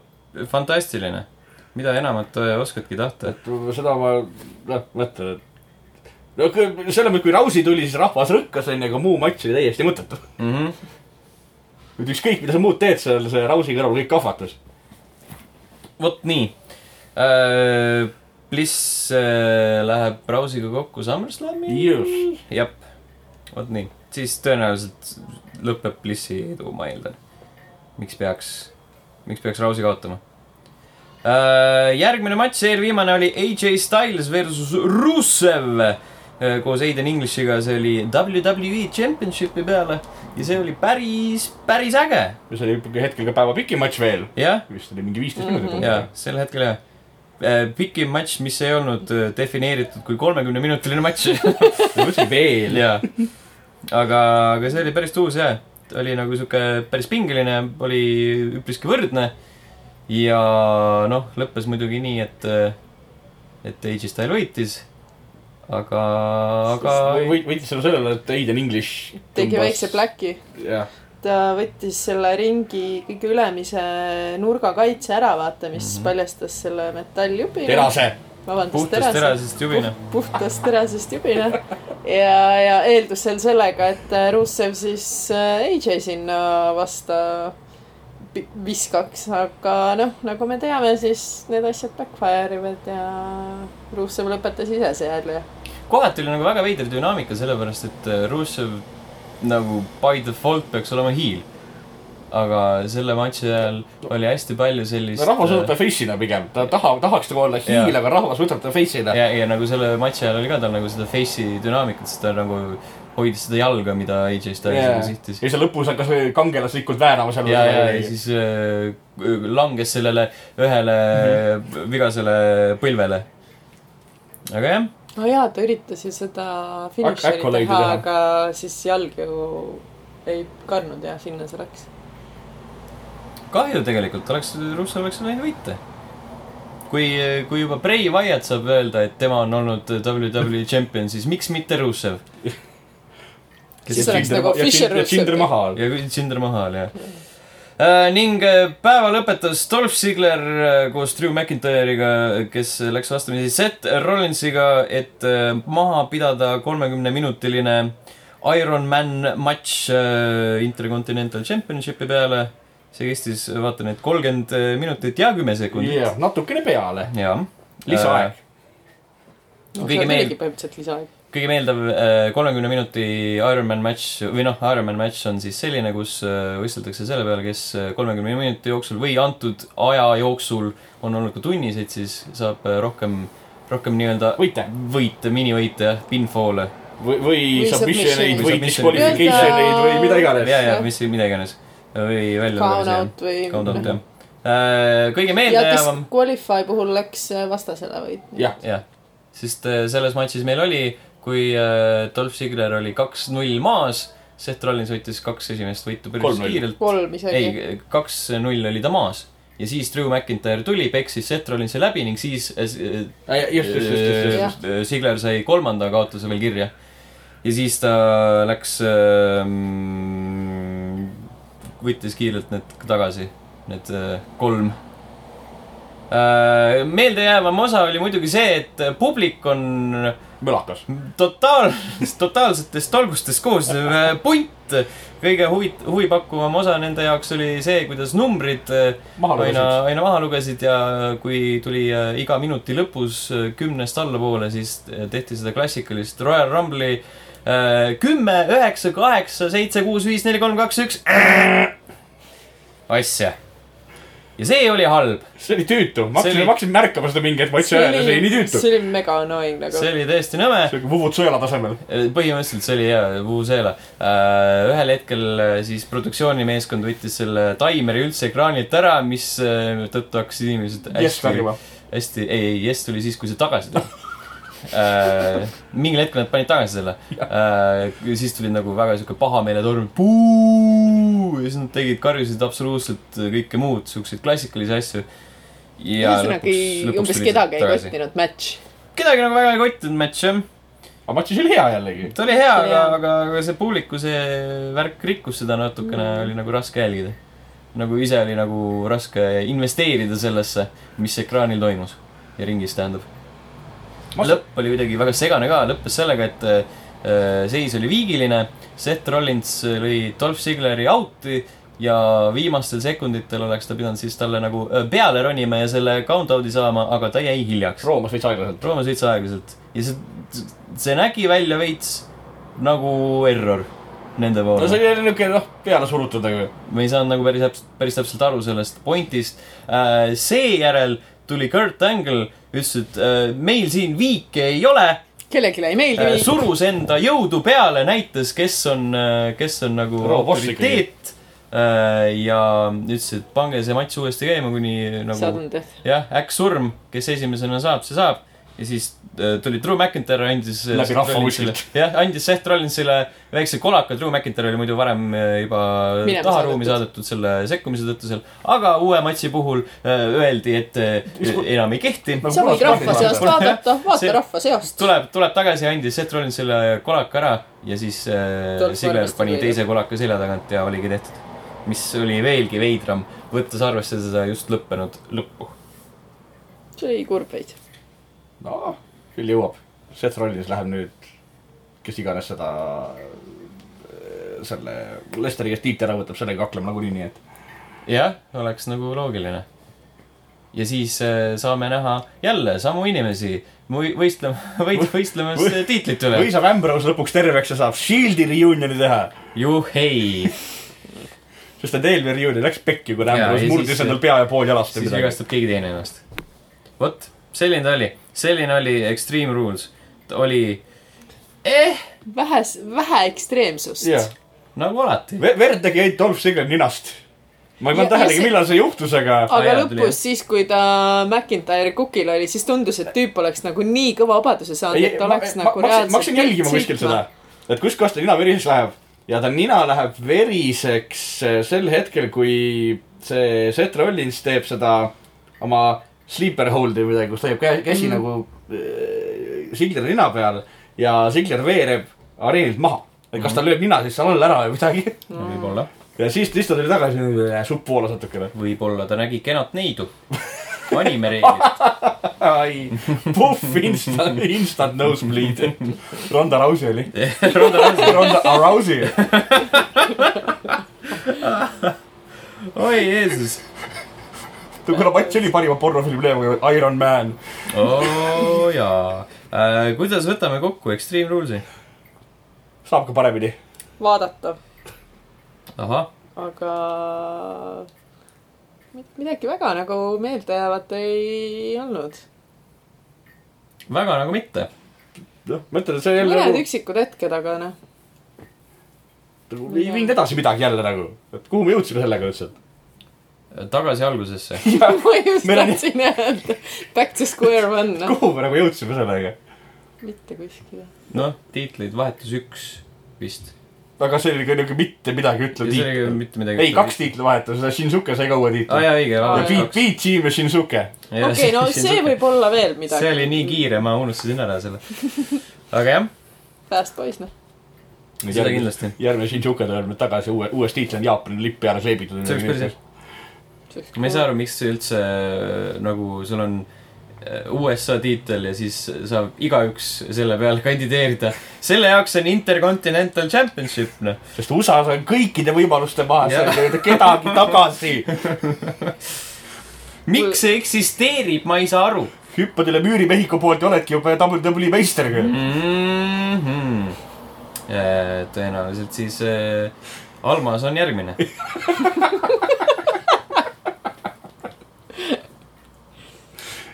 [SPEAKER 4] fantastiline , mida enamat äh, oskadki tahta .
[SPEAKER 3] et seda ma , noh , mõtlen , et no kõ- selles mõttes , kui Rausi tuli , siis rahvas rõkkas , onju , aga muu matš oli täiesti mõttetu .
[SPEAKER 4] Mm -hmm.
[SPEAKER 3] et ükskõik , mida sa muud teed seal , see Rausi kõrval kõik kahvatas .
[SPEAKER 4] vot nii äh, . Bliss äh, läheb Browsiga kokku SummerSlamil .
[SPEAKER 3] just .
[SPEAKER 4] jah , vot nii , siis tõenäoliselt lõpeb Blissi edu , ma eeldan . miks peaks , miks peaks Browsi kaotama äh, ? järgmine matš , eelviimane oli AJ Styles versus Rusev äh, koos Aiden Englishiga , see oli WWE Championshipi peale ja see oli päris , päris äge ,
[SPEAKER 3] ja see oli ikkagi hetkel ka päeva pikim matš veel .
[SPEAKER 4] jah
[SPEAKER 3] vist oli mingi viisteist minutit
[SPEAKER 4] Mhm. jaa , sel hetkel jah . pikim matš , mis ei olnud äh, defineeritud kui kolmekümne minutiline matš
[SPEAKER 3] ma mõtlesin veel .
[SPEAKER 4] jaa . aga , aga see oli päris uus jah . oli nagu sihuke päris pingeline , oli üpriski võrdne . ja noh , lõppes muidugi nii , et , et AJ Style võitis . aga , aga
[SPEAKER 3] võitis selle sellele , et Aiden English
[SPEAKER 5] tegi väikse . pläki .
[SPEAKER 3] jah ,
[SPEAKER 5] ta võttis selle ringi
[SPEAKER 4] Mhm.
[SPEAKER 5] kõige ülemise nurga kaitse ära , vaata , mis mm -hmm. paljastas selle metalljupi .
[SPEAKER 3] terase .
[SPEAKER 5] vabandust ,
[SPEAKER 4] puhtast terasest jubine .
[SPEAKER 5] puhtast terasest jubine ja , ja eeldus seal sellega , et äh, Russev siis äh, AJ sinna vasta pi- viskaks , aga noh , nagu me teame , siis need asjad backfire ivad ja Russev lõpetas ise seal ja
[SPEAKER 4] kohati oli nagu väga veider dünaamika , sellepärast et äh, Russev nagu by default peaks olema hiil . aga selle matši ajal oli hästi palju sellist . äh,
[SPEAKER 3] rahvas võtab ta face'ina pigem , ta tahab , tahaks nagu olla hiil , aga rahvas võtab ta face'ina .
[SPEAKER 4] ja , ja nagu selle matši ajal oli ka tal nagu seda face'i dünaamikat , sest ta nagu hoidis seda jalga , mida AJ Styles
[SPEAKER 3] ja
[SPEAKER 4] yeah. sihtis .
[SPEAKER 3] siis lõpus hakkas kangelaslikult väänama seal .
[SPEAKER 4] ja , ja , ja siis äh, langes sellele ühele mm -hmm. vigasele põlvele . aga jah ,
[SPEAKER 5] no jaa , ta üritas ju seda finišeri
[SPEAKER 3] Accolade
[SPEAKER 5] teha ,
[SPEAKER 3] teha.
[SPEAKER 5] aga siis jalg ju ei kandnud ja sinna see läks .
[SPEAKER 4] kahju tegelikult , oleks , Russel oleks võinud võita . kui , kui juba Bray Wyatt saab öelda , et tema on olnud WWE tšempion , siis miks mitte Russev ?
[SPEAKER 5] Siis oleks nagu Fischer
[SPEAKER 3] ja Schindler
[SPEAKER 5] Rusev.
[SPEAKER 3] maha all .
[SPEAKER 4] ja Cinder maha oli jah . ning äh, päeva lõpetas Dolph Ziggler äh, koos Drew McIntyre'iga , kes läks vastamisi Seth Rollinsiga , et äh, maha pidada kolmekümneminutiline Iron Man matš äh, Intercontinental Championshipi peale . see kestis , vaatan , et kolmkümmend äh, minutit ja kümme sekundit .
[SPEAKER 3] jah , natukene peale ,
[SPEAKER 4] jah . Äh,
[SPEAKER 3] lisaaeg .
[SPEAKER 5] no
[SPEAKER 4] Kõige
[SPEAKER 5] seal
[SPEAKER 4] meil-
[SPEAKER 5] oligi põhimõtteliselt lisaaeg .
[SPEAKER 4] kõige meeldav äh, kolmekümne minuti Ironman match või noh , Ironman match on siis selline , kus äh, võisteldakse selle peale , kes äh, kolmekümne minuti jooksul või antud aja jooksul on olnud ka tunniseid , siis saab äh, rohkem , rohkem nii-öelda
[SPEAKER 3] võite
[SPEAKER 4] võite , minivõite jah , pinfall'e
[SPEAKER 3] või , või
[SPEAKER 5] Või
[SPEAKER 3] submissioneid
[SPEAKER 5] submissioneid.
[SPEAKER 3] või
[SPEAKER 4] Või
[SPEAKER 3] disqualificationeid või mida iganes .
[SPEAKER 4] ja , ja
[SPEAKER 5] Jah.
[SPEAKER 4] mis mida iganes või
[SPEAKER 5] Count
[SPEAKER 4] välja .
[SPEAKER 5] out või .
[SPEAKER 4] Count out jah . kõige
[SPEAKER 5] ja kes
[SPEAKER 4] meeldejäävam
[SPEAKER 5] Qualify puhul läks äh, vastasele või ?
[SPEAKER 3] jah ,
[SPEAKER 4] jah , sest äh, selles matšis meil oli , kui äh, Dolph Ziggler oli kaks-null maas , Seth Rollins võttis kaks esimest võitu päris
[SPEAKER 3] 3-0.
[SPEAKER 4] kiirelt .
[SPEAKER 5] kolm isegi .
[SPEAKER 4] ei , kaks-null oli ta maas ja siis Drew McIntyre tuli , peksis Seth Rollinsi läbi ning siis äh, s-
[SPEAKER 3] just , just , just , just , just .
[SPEAKER 4] äh, Ziggler sai kolmanda kaotuse veel kirja . ja siis ta läks äh, , võttis kiirelt need tagasi , need äh, kolm . meeldejäävam osa oli muidugi see , et publik on
[SPEAKER 3] mõlakas .
[SPEAKER 4] totaal , totaalsetest tolgustest koosnev äh, punt . kõige huvi , huvipakkuvam osa nende jaoks oli see , kuidas numbrid äh,
[SPEAKER 3] maha
[SPEAKER 4] aina
[SPEAKER 3] lugesid .,
[SPEAKER 4] aina maha lugesid ja kui tuli äh, iga minuti lõpus äh, kümnest allapoole , siis äh, tehti seda klassikalist Royal Rumble'i äh, kümme , üheksa , kaheksa , seitse , kuus , viis , neli , kolm , kaks , üks . asja . ja see oli halb ,
[SPEAKER 3] see oli tüütu , ma
[SPEAKER 4] See
[SPEAKER 3] hakkasin ,
[SPEAKER 4] oli-
[SPEAKER 3] ma hakkasin märkama seda mingi hetk , ma ütlesin ära , see oli nii tüütu .
[SPEAKER 5] see oli mega annoying nagu
[SPEAKER 4] see . oli täiesti nõme .
[SPEAKER 3] sihuke Vuvut sõela tasemel .
[SPEAKER 4] põhimõtteliselt see oli hea Vuvuzela . ühel hetkel äh, siis produktsioonimeeskond võttis selle taimeri üldse ekraanilt ära , mis äh, tõttu hakkasid inimesed
[SPEAKER 3] jess värvima .
[SPEAKER 4] hästi , ei , ei , Yes tuli siis , kui see tagasi tuli uh, . mingil hetkel nad panid tagasi selle uh, . siis tuli nagu väga sihuke pahameeletorm . ja siis nad tegid , karjusid absoluutselt kõike muud , siukseid klassikalisi asju .
[SPEAKER 5] ühesõnaga ei , umbes kedagi ei . kottinud match .
[SPEAKER 4] kedagi nagu väga ei kottinud matš jah .
[SPEAKER 3] aga matšis oli hea jällegi .
[SPEAKER 4] ta oli hea ,
[SPEAKER 5] See oli
[SPEAKER 4] aga
[SPEAKER 5] hea. ,
[SPEAKER 4] aga , aga see publiku see värk rikkus seda natukene mm. , oli nagu raske jälgida . nagu ise oli nagu raske investeerida sellesse , mis ekraanil toimus ja ringis tähendab .
[SPEAKER 3] Ma-
[SPEAKER 4] lõpp oli kuidagi väga segane ka , lõppes sellega , et äh, seis oli viigiline . Seth Rollins lõi Dolph Ziggleri out'i ja viimastel sekunditel oleks ta pidanud siis talle nagu äh, peale ronima ja selle count-out'i saama , aga ta jäi hiljaks .
[SPEAKER 3] Roomas veits aeglaselt .
[SPEAKER 4] proovis veits aeglaselt ja see , see nägi välja veits nagu error nende
[SPEAKER 3] no see
[SPEAKER 4] poole .
[SPEAKER 3] oli niuke , noh , peale surutud nagu .
[SPEAKER 4] me ei saanud nagu päris täpselt , päris täpselt aru sellest pointist . seejärel tuli Kurt Angle , ütles , et äh, meil siin viike ei ole .
[SPEAKER 5] kellelegi ei
[SPEAKER 3] Äh,
[SPEAKER 5] meeldi .
[SPEAKER 4] surus enda jõudu peale , näitas , kes on , kes on nagu
[SPEAKER 3] Raw boss
[SPEAKER 4] autoriteet . ja ütles , et pange see matš uuesti käima , kuni nagu
[SPEAKER 5] Sudden death .
[SPEAKER 4] jah , äkk surm , kes esimesena saab , see saab . ja siis äh, tuli Drew McIntyre , andis . äh,
[SPEAKER 3] Läbi rahva kuskilt.
[SPEAKER 4] jah , andis Seth Rollinsile väikse kolaka , Drew McIntyre oli muidu varem äh, juba
[SPEAKER 5] Minema
[SPEAKER 4] taharuumi
[SPEAKER 5] saadetud.
[SPEAKER 4] saadetud selle sekkumise tõttu seal . aga uue matši puhul äh, öeldi , et äh, enam ei kehti .
[SPEAKER 5] sa võid rahva seast vaadata ,
[SPEAKER 4] See-
[SPEAKER 5] vaata rahva seost .
[SPEAKER 4] tuleb , tuleb tagasi , andis Seth Rollinsile kolaka ära ja siis äh,
[SPEAKER 5] Dolph
[SPEAKER 4] Sigler
[SPEAKER 5] Lundgren
[SPEAKER 4] pani
[SPEAKER 5] tuli.
[SPEAKER 4] teise kolaka selja tagant ja oligi tehtud . mis oli veelgi veidram , võttes arvesse seda just lõppenud lõppu .
[SPEAKER 5] see oli kurb veidi .
[SPEAKER 3] noh , küll jõuab . Seth Rollins läheb nüüd , kes iganes seda , selle Lesteri käest tiitli ära võtab , sellega kaklema nagunii , nii et .
[SPEAKER 4] jah , oleks nagu loogiline . ja siis äh, saame näha jälle samu inimesi või- võistlema , võit- , võistlemas
[SPEAKER 3] Või-
[SPEAKER 4] tiitlit üle
[SPEAKER 3] või . saab Ambrose lõpuks terveks ja saab Shieldi reunion'i teha ,
[SPEAKER 4] juhhei ,
[SPEAKER 3] sest et eelmine reunion läks pekki , kuna
[SPEAKER 4] Jaa,
[SPEAKER 3] Ambrose
[SPEAKER 4] ja
[SPEAKER 3] murdis
[SPEAKER 4] siis-
[SPEAKER 3] endal pea ja pool jalast või
[SPEAKER 4] siis
[SPEAKER 3] midagi .
[SPEAKER 4] vigastab keegi teine ennast . vot , selline ta oli , selline oli Extreme Rules . ta oli eh,
[SPEAKER 5] vähe , vähe ekstreemsust
[SPEAKER 3] jah ,
[SPEAKER 4] nagu alati .
[SPEAKER 3] verd tegi ainult Dolph Ziggler ninast . ma ei pannud
[SPEAKER 5] Ja- ja
[SPEAKER 3] tähelegi ,
[SPEAKER 5] see-
[SPEAKER 3] millal see juhtus , aga
[SPEAKER 4] Aa,
[SPEAKER 5] aga
[SPEAKER 4] jaa, tuli, jah.
[SPEAKER 5] lõpus , siis kui ta McIntyre kukil oli , siis tundus , et tüüp oleks nagu nii kõva vabaduse saanud ,
[SPEAKER 3] ei ,
[SPEAKER 5] et
[SPEAKER 3] ma, ma,
[SPEAKER 5] oleks nagu
[SPEAKER 3] ma, ma, ma hakkasin jälgima
[SPEAKER 5] kõik
[SPEAKER 3] kuskil seda
[SPEAKER 5] sõitma. ,
[SPEAKER 3] et kuskohast ta nina veriseks läheb ja ta nina läheb veriseks eh, sel hetkel , kui see Seth Rollins teeb seda oma sleeper hold'i või midagi , kus ta jääb kä- käsi mm. nagu äh, Sigleri nina peal ja Sigler veereb areenilt maha . et kas ta lööb nina siis seal all ära või midagi .
[SPEAKER 4] võib-olla ,
[SPEAKER 3] ja siis ta istus tagasi , supp voolas natukene .
[SPEAKER 4] võib-olla ta nägi kenat neidu . panime reeglid .
[SPEAKER 3] ai , puhh , instant , instant nosebleed . Ronda Rousey oli . Ronda Rousey .
[SPEAKER 4] oi Jeesus
[SPEAKER 3] kuna Mats oli parima pornofilmi leiab , Iron Man .
[SPEAKER 4] oo oh, jaa äh, . kuidas võtame kokku Extreme Rules'i ?
[SPEAKER 3] saab ka paremini .
[SPEAKER 5] vaadata ,
[SPEAKER 4] ahah ,
[SPEAKER 5] aga mid- midagi väga nagu meeldejäävat ei olnud .
[SPEAKER 4] väga nagu mitte .
[SPEAKER 3] noh , ma ütlen , et see jälle
[SPEAKER 5] mõned
[SPEAKER 3] nagu
[SPEAKER 5] üksikud hetked , aga noh ,
[SPEAKER 3] nagu ei viinud edasi midagi jälle nagu , et kuhu me jõudsime sellega üldse .
[SPEAKER 4] tagasi algusesse .
[SPEAKER 5] ma just
[SPEAKER 3] Meil on-
[SPEAKER 5] tahtsin öelda back to square one , noh ,
[SPEAKER 3] kuhu me nagu jõudsime sellega .
[SPEAKER 5] mitte kuskile .
[SPEAKER 4] noh , tiitleid vahetus üks vist .
[SPEAKER 3] aga see oli ka niuke mitte midagi
[SPEAKER 4] ja
[SPEAKER 3] ütlev
[SPEAKER 4] see oli ka
[SPEAKER 3] tiitl .
[SPEAKER 4] mitte midagi .
[SPEAKER 3] ei , kaks . tiitli vahetus , Shinsuke sai ka uue
[SPEAKER 4] aa
[SPEAKER 3] tiitli .
[SPEAKER 4] jaa , õige .
[SPEAKER 3] ja
[SPEAKER 5] Aa, jaa.
[SPEAKER 3] Pete , Pete Team ja Shinsuke .
[SPEAKER 5] okei , no see . võib olla veel midagi .
[SPEAKER 4] see oli nii . kiire , ma unustasin ära selle . aga jah ,
[SPEAKER 5] Fast Boys , noh .
[SPEAKER 4] seda kindlasti .
[SPEAKER 3] järgmine Shinsuke tuleb nüüd tagasi uue , uues tiitli on Jaapani lipp peale kleebitud .
[SPEAKER 4] See oleks päris hea. ma ei saa . aru , miks see üldse nagu sul on äh, USA tiitel ja siis saab igaüks selle peale kandideerida . selle jaoks on Intercontinental Championship , noh .
[SPEAKER 3] sest USA-s on kõikide võimaluste maha ,
[SPEAKER 4] Jah.
[SPEAKER 3] seal ei võeta kedagi tagasi .
[SPEAKER 4] miks see eksisteerib , ma ei saa aru
[SPEAKER 3] hüppad üle müüri Mehhiko poolt ja oledki juba WWE meister küll .
[SPEAKER 4] mm . -hmm. tõenäoliselt siis äh, Almas on järgmine .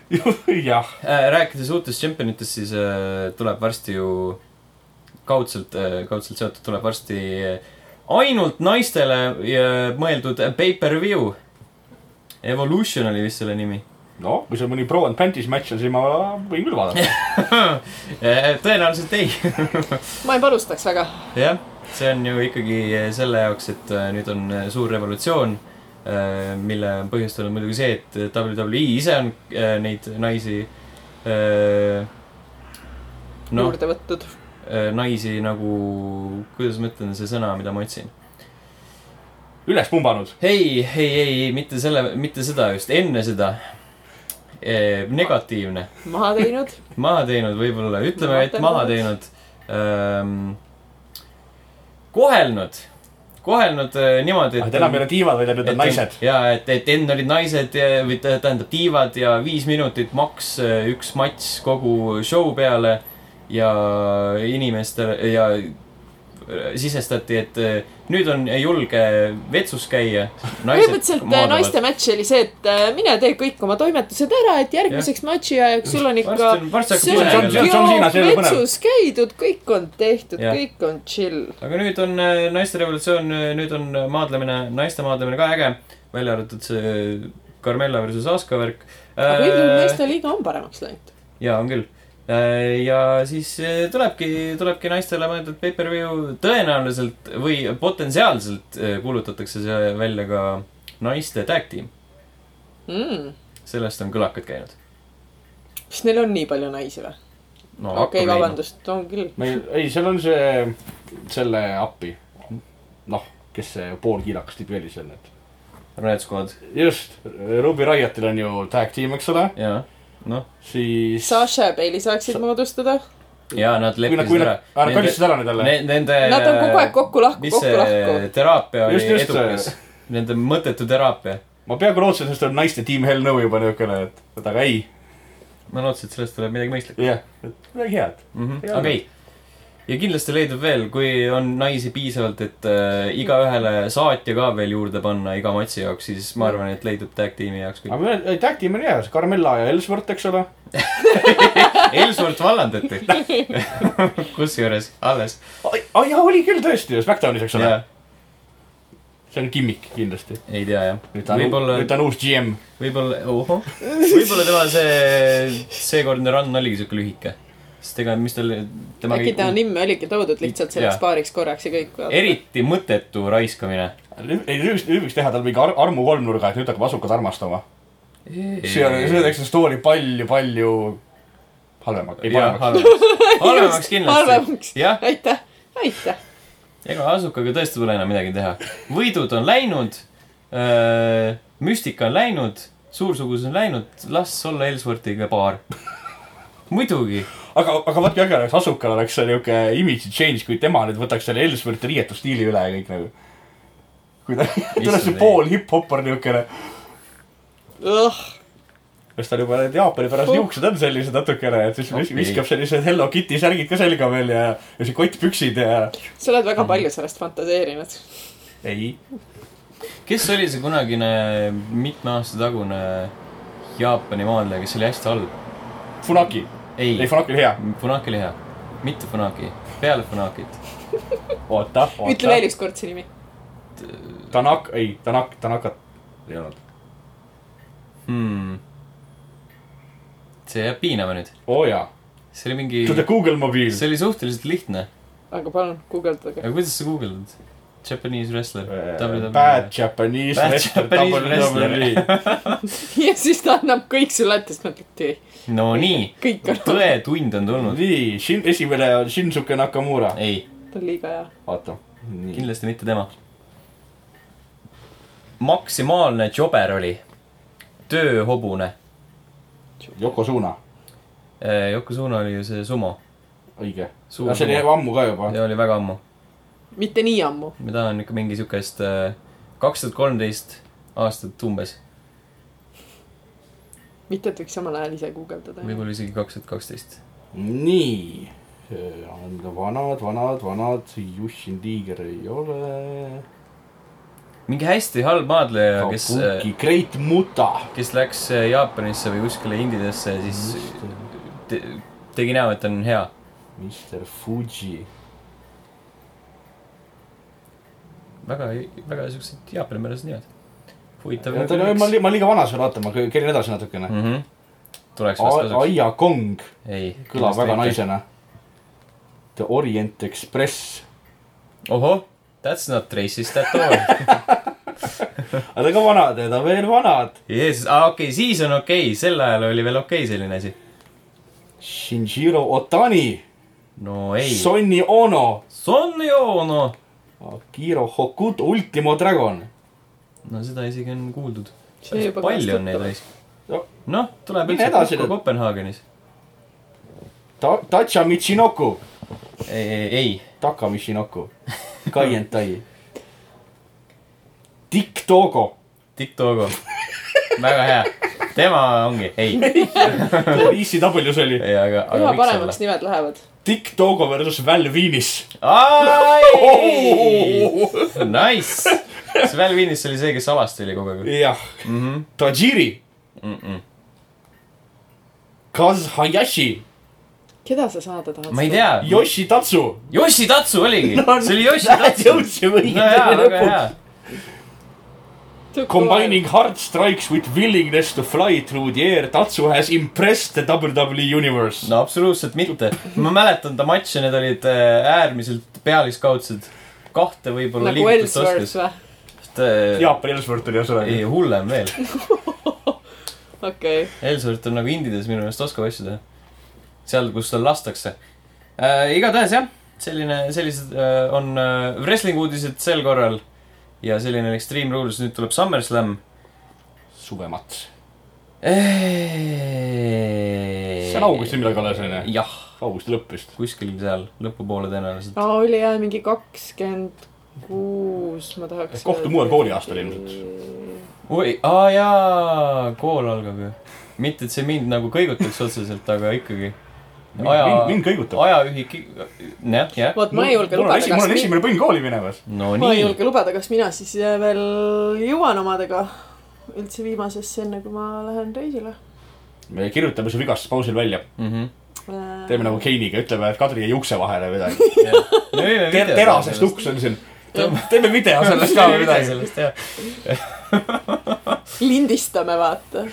[SPEAKER 3] jah ,
[SPEAKER 4] Äh, rääkides uutest tšempionitest , siis äh, tuleb varsti ju kaudselt , kaudselt seotud , tuleb varsti äh, ainult naistele äh, mõeldud pay-per-view . Evolution oli vist selle nimi .
[SPEAKER 3] no kui seal mõni pro and panties match on , siis ma võin küll vaadata .
[SPEAKER 4] Äh, tõenäoliselt ei .
[SPEAKER 5] ma ei panustaks väga .
[SPEAKER 4] jah , see on ju ikkagi selle jaoks , et äh, nüüd on äh, suur revolutsioon , mille on põhjustanud muidugi see , et äh, WWE ise on äh, neid naisi , noh ,
[SPEAKER 5] juurde võtnud .
[SPEAKER 4] naisi nagu , kuidas ma ütlen , see sõna , mida ma otsin .
[SPEAKER 3] üles pumbanud .
[SPEAKER 4] ei , ei , ei , mitte selle , mitte seda just , enne seda . negatiivne .
[SPEAKER 5] maha teinud .
[SPEAKER 4] maha teinud võib-olla , ütleme , et
[SPEAKER 5] Vaatame
[SPEAKER 4] maha
[SPEAKER 5] nüüd.
[SPEAKER 4] teinud ähm, . kohelnud , kohelnud äh, niimoodi ,
[SPEAKER 3] Ah, et enam ei ole tiivad , vaid nüüd on naised .
[SPEAKER 4] ja et , et enne olid naised ja- või tä- tähendab tiivad ja viis minutit maks äh, üks mats kogu show peale ja inimestele ja äh, sisestati , et äh, nüüd on julge vetsus käia .
[SPEAKER 5] põhimõtteliselt äh, naiste match oli see , et äh, mine tee kõik oma toimetused ära , et järgmiseks matši ajaks sul on ikka
[SPEAKER 4] Varsti on- varsti hakkab
[SPEAKER 5] söök,
[SPEAKER 4] põnev jälle.
[SPEAKER 3] John Cena, see ei ole
[SPEAKER 5] jook,
[SPEAKER 3] põnev.
[SPEAKER 5] vetsus käidud , kõik on tehtud ,
[SPEAKER 4] Jah.
[SPEAKER 5] kõik on chill .
[SPEAKER 4] aga nüüd on äh, naiste revolutsioon , nüüd on äh, maadlemine , naiste maadlemine ka äge , välja arvatud see äh, Carmella versus Aska värk .
[SPEAKER 5] aga üldjuhul naiste liiga on paremaks läinud .
[SPEAKER 4] ja on küll . ja siis äh, tulebki , tulebki naistele mõeldud pay-per-view tõenäoliselt või potentsiaalselt äh, kuulutatakse see välja ka naiste tag tiim ,
[SPEAKER 5] Mm.
[SPEAKER 4] sellest on kõlakad käinud .
[SPEAKER 5] kas neil on nii palju naisi või ? okei
[SPEAKER 4] no
[SPEAKER 5] okay, ,
[SPEAKER 4] hakkab leidma.
[SPEAKER 5] vabandust , on küll .
[SPEAKER 3] meil , ei , seal on see , selle appi . noh , kes see poolkiilakas tüüp oli seal nüüd .
[SPEAKER 4] Red Squad ,
[SPEAKER 3] just , Ruby Riotil on ju tag team , eks ole .
[SPEAKER 4] jaa . noh ,
[SPEAKER 3] siis .
[SPEAKER 5] Sasha ja Bailey saaksid moodustada .
[SPEAKER 4] ja nad
[SPEAKER 3] kui nad ,
[SPEAKER 4] leppisid
[SPEAKER 3] kui
[SPEAKER 4] ära
[SPEAKER 3] nad ,. nad kardistasid ära
[SPEAKER 4] Ne-
[SPEAKER 3] endale .
[SPEAKER 4] Nende .
[SPEAKER 5] Nad on kogu aeg kokku lahku ,
[SPEAKER 4] Äh, mis
[SPEAKER 5] kokku
[SPEAKER 4] see
[SPEAKER 5] lahku .
[SPEAKER 4] teraapia
[SPEAKER 3] Just,
[SPEAKER 4] oli
[SPEAKER 3] just.
[SPEAKER 4] edukas ? Nende mõttetu teraapia .
[SPEAKER 3] ma peaaegu lootsin , sest on naiste tiim Hell No juba niukene , et , et aga ei ,
[SPEAKER 4] ma lootsin , et sellest tuleb midagi mõistlikku
[SPEAKER 3] jah , et midagi head .
[SPEAKER 4] mm -hmm. .
[SPEAKER 3] Jaa.
[SPEAKER 4] aga ei . ja kindlasti leidub veel , kui on naisi piisavalt , et äh, igaühele saatja ka veel juurde panna iga matši jaoks , siis ma arvan , et leidub tag tiimi jaoks
[SPEAKER 3] aga
[SPEAKER 4] küll .
[SPEAKER 3] meil oli tag tiim oli hea , see Carmella ja Ellsworth , eks ole .
[SPEAKER 4] Elsvolt vallandati . kusjuures alles .
[SPEAKER 3] aa jaa , oli küll tõesti ju SmackDownis , eks ole .
[SPEAKER 4] jaa ,
[SPEAKER 3] see on gimmick kindlasti .
[SPEAKER 4] ei tea jah .
[SPEAKER 3] nüüd ta on ,
[SPEAKER 4] võib-olla ,
[SPEAKER 3] nüüd ta on uus GM .
[SPEAKER 4] võib-olla , ohoh . võib-olla tema see , seekordne run oligi siuke lühike . sest ega , mis tal , tema
[SPEAKER 5] äkki ta nimme oligi toodud lihtsalt selleks
[SPEAKER 4] Jaa.
[SPEAKER 5] paariks korraks ja kõik .
[SPEAKER 4] eriti mõttetu raiskamine .
[SPEAKER 3] ei , nüüd võiks , nüüd võiks teha tal mingi ar- armu kolmnurga , et nüüd hakkab asukad armastama . see on , see teeks seda story palju , palju halvemaks , ei
[SPEAKER 4] Jah,
[SPEAKER 3] paremaks .
[SPEAKER 4] halvemaks . halvemaks
[SPEAKER 5] halvemaks.
[SPEAKER 4] kindlasti . jah ,
[SPEAKER 5] aitäh , aitäh .
[SPEAKER 4] ega Asukaga tõesti pole enam midagi teha . võidud on läinud , müstika on läinud , suursugused on läinud , las olla Ellsworthiga paar . muidugi ,
[SPEAKER 3] aga , aga vaat kui äge oleks , Asukal oleks see niuke image change , kui tema nüüd võtaks selle Ellsworthi riietusstiili üle ja kõik nagu . kui ta , tal oleks see
[SPEAKER 4] ei.
[SPEAKER 3] pool hip-hopper niukene , kas tal juba need Jaapani pärast
[SPEAKER 5] Oh.
[SPEAKER 3] juuksed on sellised natukene , et siis vis-
[SPEAKER 4] Okei.
[SPEAKER 3] viskab sellised Hello Kitty särgid ka selga veel ja , ja see kottpüksid ja
[SPEAKER 5] sa oled
[SPEAKER 4] Mm.
[SPEAKER 5] väga palju sellest fantaseerinud .
[SPEAKER 3] ei .
[SPEAKER 4] kes oli see kunagine mitme aasta tagune Jaapani maadleja , kes oli hästi halb ?
[SPEAKER 3] Funaki ,
[SPEAKER 4] ei
[SPEAKER 3] ei , Funaki oli hea .
[SPEAKER 4] Funaki oli hea , mitte Funaki , peale Funakit .
[SPEAKER 3] oota ,
[SPEAKER 5] ütle veel
[SPEAKER 3] oota .
[SPEAKER 5] ükskord see nimi .
[SPEAKER 3] Tanak , ei , Tanak , Tanakat ei olnud .
[SPEAKER 4] hmm. . see jääb piinama nüüd ,
[SPEAKER 3] oo oh, jaa .
[SPEAKER 4] see oli mingi
[SPEAKER 3] To , the Google mobiil .
[SPEAKER 4] see oli suhteliselt lihtne ,
[SPEAKER 5] aga palun guugeldage .
[SPEAKER 4] aga kuidas sa guugeldad ? Japanese wrestler
[SPEAKER 3] Äh,
[SPEAKER 4] WWE.
[SPEAKER 3] Eh, Bad Japanese
[SPEAKER 4] E. Bad
[SPEAKER 3] wrestler ,
[SPEAKER 4] Japanese
[SPEAKER 3] WWE .
[SPEAKER 5] ja siis ta annab kõik sulle ette , siis mõtled , et ei,
[SPEAKER 4] no nii ,
[SPEAKER 5] kõik on ,
[SPEAKER 4] tõetund on tulnud .
[SPEAKER 3] nii , Shin , esimene on Shinsuke Nakamura .
[SPEAKER 4] ei ,
[SPEAKER 5] ta on liiga hea .
[SPEAKER 3] vaata . nii .
[SPEAKER 4] kindlasti mitte tema . maksimaalne jober oli , tööhobune .
[SPEAKER 3] Yokozuna ,
[SPEAKER 4] Yokozuna oli ju see sumo
[SPEAKER 3] õige .
[SPEAKER 4] Suur
[SPEAKER 3] see oli
[SPEAKER 4] sumo.
[SPEAKER 3] ammu ka juba .
[SPEAKER 4] ja oli väga ammu .
[SPEAKER 5] mitte nii ammu .
[SPEAKER 4] ma tahan ikka mingi siukest äh, kaks tuhat kolmteist aastat umbes ,
[SPEAKER 5] mitte , et võiks samal ajal ise guugeldada .
[SPEAKER 4] võib-olla isegi kaks tuhat kaksteist .
[SPEAKER 3] nii . on ka vanad , vanad , vanad , Yushin Tiiger ei ole .
[SPEAKER 4] mingi hästi halb maadleja , kes , eh,
[SPEAKER 3] Kabuki , Great Muta .
[SPEAKER 4] kes läks äh, Jaapanisse või kuskile Indiasse , siis te, tegi näo , et on hea .
[SPEAKER 3] Mr Fuji .
[SPEAKER 4] väga , väga siuksed jaapanipärased nimed . huvitav . nagu
[SPEAKER 3] ma olin , ma olin liiga vana seal vaatama , kerin edasi natukene .
[SPEAKER 4] -hmm. tuleks vast kasuks .
[SPEAKER 3] Aia Kong
[SPEAKER 4] ei .
[SPEAKER 3] kõlab väga . naisena . The Orient Express .
[SPEAKER 4] ohoh , that's not racist at all .
[SPEAKER 3] aga ka vanad , need on veel vanad .
[SPEAKER 4] Jeesus , aa okei okay, , siis on okei okay. , sel ajal oli veel okei okay selline asi .
[SPEAKER 3] Shinjiro Otani ,
[SPEAKER 4] no ei .
[SPEAKER 3] Sonny Ono ,
[SPEAKER 4] Sonny Ono .
[SPEAKER 3] Akiro Hokuto , Ultimo Dragon .
[SPEAKER 4] no seda isegi on kuuldud .
[SPEAKER 5] See juba
[SPEAKER 4] palju on neid
[SPEAKER 5] kastutav.
[SPEAKER 4] raisk
[SPEAKER 3] No. .
[SPEAKER 4] noh , tuleb
[SPEAKER 3] Mine
[SPEAKER 4] üldse
[SPEAKER 3] edasi
[SPEAKER 4] kokku
[SPEAKER 3] nüüd.
[SPEAKER 4] Kopenhaagenis .
[SPEAKER 3] Ta- , Tacha Michinoku ,
[SPEAKER 4] ei , ei , ei ,
[SPEAKER 3] Taka Michinoku , Kaien Tai . Dick Togo ,
[SPEAKER 4] Dick Togo . väga hea , tema ongi , ei ,
[SPEAKER 3] E ECW-s oli .
[SPEAKER 4] ei , aga , aga
[SPEAKER 5] üha
[SPEAKER 4] võiks olla
[SPEAKER 5] paremaks . nimed lähevad .
[SPEAKER 3] Dick Togo versus Val Venis .
[SPEAKER 4] Nice , Sven Vinis oli see , kes alasti oli kogu aeg .
[SPEAKER 3] jah , Tajiri , Kaz Hayashi ,
[SPEAKER 5] keda sa saada tahad ?
[SPEAKER 4] ma ei tea ,
[SPEAKER 3] Yoshitatsu .
[SPEAKER 4] Yoshitatsu oligi no, , see oli Yoshitatsu .
[SPEAKER 3] jõudsime
[SPEAKER 4] no jaa ,
[SPEAKER 3] õigele
[SPEAKER 4] väga hea
[SPEAKER 3] lõpuks ., Combining hard strikes with willingness to fly through the air , Tatsu has impressed the WWE universe .
[SPEAKER 4] no absoluutselt mitte , ma mäletan ta matše , need olid äh, äärmiselt pealiskaudsed , kahte võib-olla
[SPEAKER 5] nagu
[SPEAKER 4] liigutust
[SPEAKER 5] Ellsworth
[SPEAKER 4] oskas
[SPEAKER 5] või ?
[SPEAKER 4] et, äh,
[SPEAKER 3] Jaapan Ellsworth oli
[SPEAKER 4] ei ,
[SPEAKER 3] ühesõnaga .
[SPEAKER 4] hullem veel .
[SPEAKER 5] okei ,
[SPEAKER 4] Ellsworth on nagu indides minu meelest oskab asju teha . seal , kus tal lastakse äh, . igatahes jah , selline , sellised äh, on äh, wrestling uudised sel korral . ja selline Extreme Rules , nüüd tuleb SummerSlam
[SPEAKER 3] suvemats . see on augusti midagi alles onju ,
[SPEAKER 4] jah ,
[SPEAKER 3] augusti lõpp vist .
[SPEAKER 4] kuskil seal lõpupoole tõenäoliselt .
[SPEAKER 5] aa , oli jah mingi kakskümmend kuus , ma tahaks .
[SPEAKER 3] kohtume uuel kooliaastal ilmselt .
[SPEAKER 4] oi , aa jaa , kool algab ju . mitte , et see mind nagu kõigutaks otseselt , aga ikkagi . aja
[SPEAKER 3] mind ,, mind kõigutab .
[SPEAKER 4] ajaühik , jah , jah .
[SPEAKER 5] vot ma ei julge
[SPEAKER 3] mul on
[SPEAKER 5] lubada ,
[SPEAKER 3] esimene , mul on
[SPEAKER 5] kas ,
[SPEAKER 3] esimene põnn kooli minemas .
[SPEAKER 4] no
[SPEAKER 5] ma ei
[SPEAKER 4] nii ,
[SPEAKER 5] julge lubada , kas mina siis äh, veel jõuan omadega üldse viimasesse , enne kui ma lähen reisile .
[SPEAKER 3] me kirjutame su vigast pausil välja .
[SPEAKER 4] Mhm.
[SPEAKER 3] teeme nagu Keiniga , ütleme , et Kadri jäi ukse vahele või midagi . Ter- , terasest . uks on siin . teeme video sellest ka või midagi .
[SPEAKER 4] sellest jah .
[SPEAKER 5] lindistame , vaata .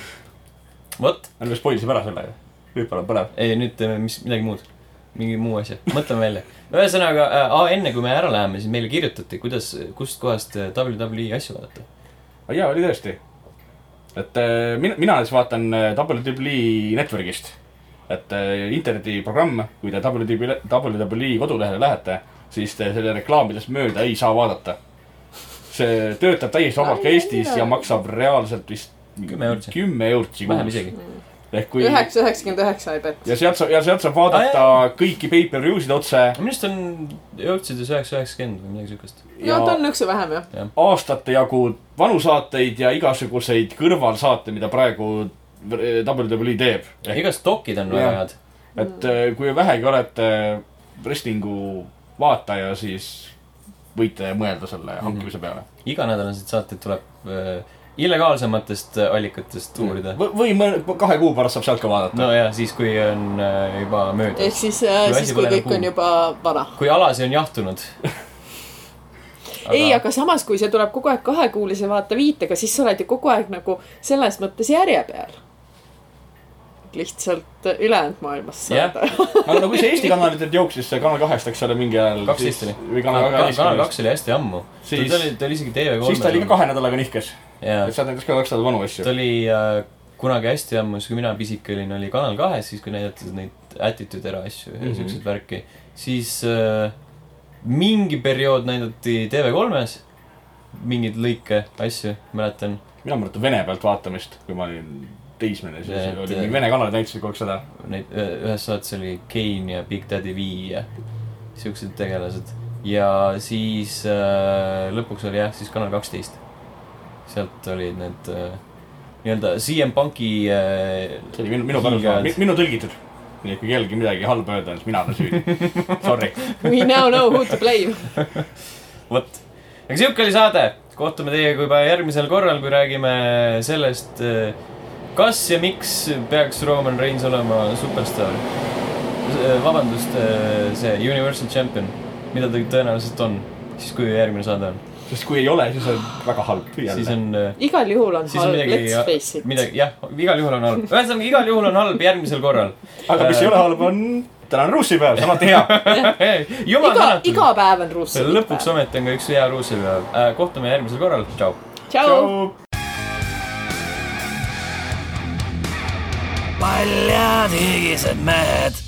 [SPEAKER 4] vot ,
[SPEAKER 3] ärme spoil ime ära selle . nüüd paneb põlev .
[SPEAKER 4] ei nüüd teeme mis , midagi muud , mingi muu asja , mõtleme välja . ühesõnaga äh, , enne kui me ära läheme , siis meile kirjutati , kuidas , kustkohast äh, WWE asju vaadata .
[SPEAKER 3] jaa , oli tõesti . et äh, mina , mina siis vaatan äh, WWE Networkist . et äh, internetiprogramm , kui te E, WWE , WWE kodulehele lähete , siis te selle reklaamidest mööda ei saa vaadata . see töötab täiesti vabalt ka
[SPEAKER 5] Ai, ai,
[SPEAKER 3] Eestis
[SPEAKER 5] ai.
[SPEAKER 3] ja maksab reaalselt vist
[SPEAKER 4] Kümme eurtsi.
[SPEAKER 3] kümme eurtsi
[SPEAKER 4] vähem isegi .
[SPEAKER 3] ehk kui
[SPEAKER 5] üheksa , üheksakümmend üheksa , I bet .
[SPEAKER 3] ja sealt saab , ja sealt saab vaadata kõiki pay-per-view sid otse
[SPEAKER 4] minu arust on , jõudsid ju üheksa , üheksakümmend või midagi siukest .
[SPEAKER 5] no
[SPEAKER 3] ja
[SPEAKER 5] ta on nõksu vähem jah .
[SPEAKER 3] aastate jagu vanu saateid ja igasuguseid kõrvalsaate , mida praegu WWE teeb . ehk
[SPEAKER 4] igast dokid on väga
[SPEAKER 3] Jah.
[SPEAKER 4] head .
[SPEAKER 3] et eh, kui vähegi olete wrestling'u vaataja , siis võite mõelda selle
[SPEAKER 4] Mhm.
[SPEAKER 3] hankimise peale
[SPEAKER 4] iganädalased saated tuleb äh, illegaalsematest äh, allikatest uurida .
[SPEAKER 3] v . või mõne , kahe kuu pärast saab sealt ka vaadata
[SPEAKER 4] no . ja siis , kui on äh, juba
[SPEAKER 5] ehk
[SPEAKER 4] möödas .
[SPEAKER 5] siis , siis
[SPEAKER 4] asi
[SPEAKER 5] kui
[SPEAKER 4] pole
[SPEAKER 5] kõik
[SPEAKER 4] nagu-
[SPEAKER 5] on juba vana .
[SPEAKER 4] kui alasi on jahtunud .
[SPEAKER 5] ei , aga samas , kui see tuleb kogu aeg kahekuulise vaata viitega , siis sa oled ju kogu aeg nagu selles mõttes järje peal . lihtsalt ülejäänud maailmas
[SPEAKER 4] Jah.
[SPEAKER 5] saada .
[SPEAKER 3] aga no kui see Eesti kanalitelt jooksis , see Kanal kahest , eks ole , mingi ajal .
[SPEAKER 4] kaksteist oli .
[SPEAKER 3] või Kanal
[SPEAKER 4] kanal kanal
[SPEAKER 3] kaheksateist .
[SPEAKER 4] kaks oli hästi ammu .
[SPEAKER 3] Siis-
[SPEAKER 4] ta oli , ta oli isegi TV3-l .
[SPEAKER 3] siis ta oli ka kahe nädalaga nihkes .
[SPEAKER 4] jaa
[SPEAKER 3] et , sealt näiteks ka kaks nädalat vanu asju
[SPEAKER 4] ta . oli äh, kunagi hästi ammu , siis kui mina pisike olin , oli Kanal kahes , siis kui näidati neid Attitude era asju ja mm
[SPEAKER 3] Mhm.
[SPEAKER 4] -hmm. siukseid värki , siis äh, mingi periood näidati TV3-s mingeid lõike , asju , mäletan .
[SPEAKER 3] mina mäletan Vene pealt vaatamist , kui ma olin teismeline , siis
[SPEAKER 4] Et-
[SPEAKER 3] et, oli mingi Vene kanalid näitasid kogu aeg seda .
[SPEAKER 4] Neid , ühes saates oli Kane ja Big Daddy V ja siuksed tegelased . ja siis äh, lõpuks oli jah , siis Kanal kaksteist . sealt olid need äh, nii-öelda CM Punki äh,
[SPEAKER 3] see oli minu , minu pärasmaa
[SPEAKER 4] Hiigad. ,
[SPEAKER 3] minu tõlgitud . nii et kui kellelgi midagi halba öelda , siis mina olen süüdi . Sorry .
[SPEAKER 5] We now know who to blame .
[SPEAKER 4] vot , aga sihuke oli saade , kohtume teiega juba järgmisel korral , kui räägime sellest , kas ja miks peaks Roman Reins olema superstaar . vabandust , see Universal Champion , mida ta tõenäoliselt on , siis kui järgmine saade on ,
[SPEAKER 3] sest kui ei ole , siis on väga halb .
[SPEAKER 4] siis on eh,
[SPEAKER 5] igal juhul on
[SPEAKER 4] siis on
[SPEAKER 5] halb , let's face
[SPEAKER 4] midagi
[SPEAKER 5] it .,
[SPEAKER 4] midagi jah , igal juhul on halb , ühesõnaga igal juhul on halb järgmisel korral . Eh,
[SPEAKER 3] aga mis ei ole halb , on tänane russipäev , on alati hea .
[SPEAKER 4] jumal
[SPEAKER 5] iga ,
[SPEAKER 4] tänatud ,
[SPEAKER 5] iga päev on russi .
[SPEAKER 4] lõpuks . ometi on ka üks hea ruusipäev , kohtume järgmisel korral , tšau .
[SPEAKER 5] tšau .
[SPEAKER 1] paljad higised mehed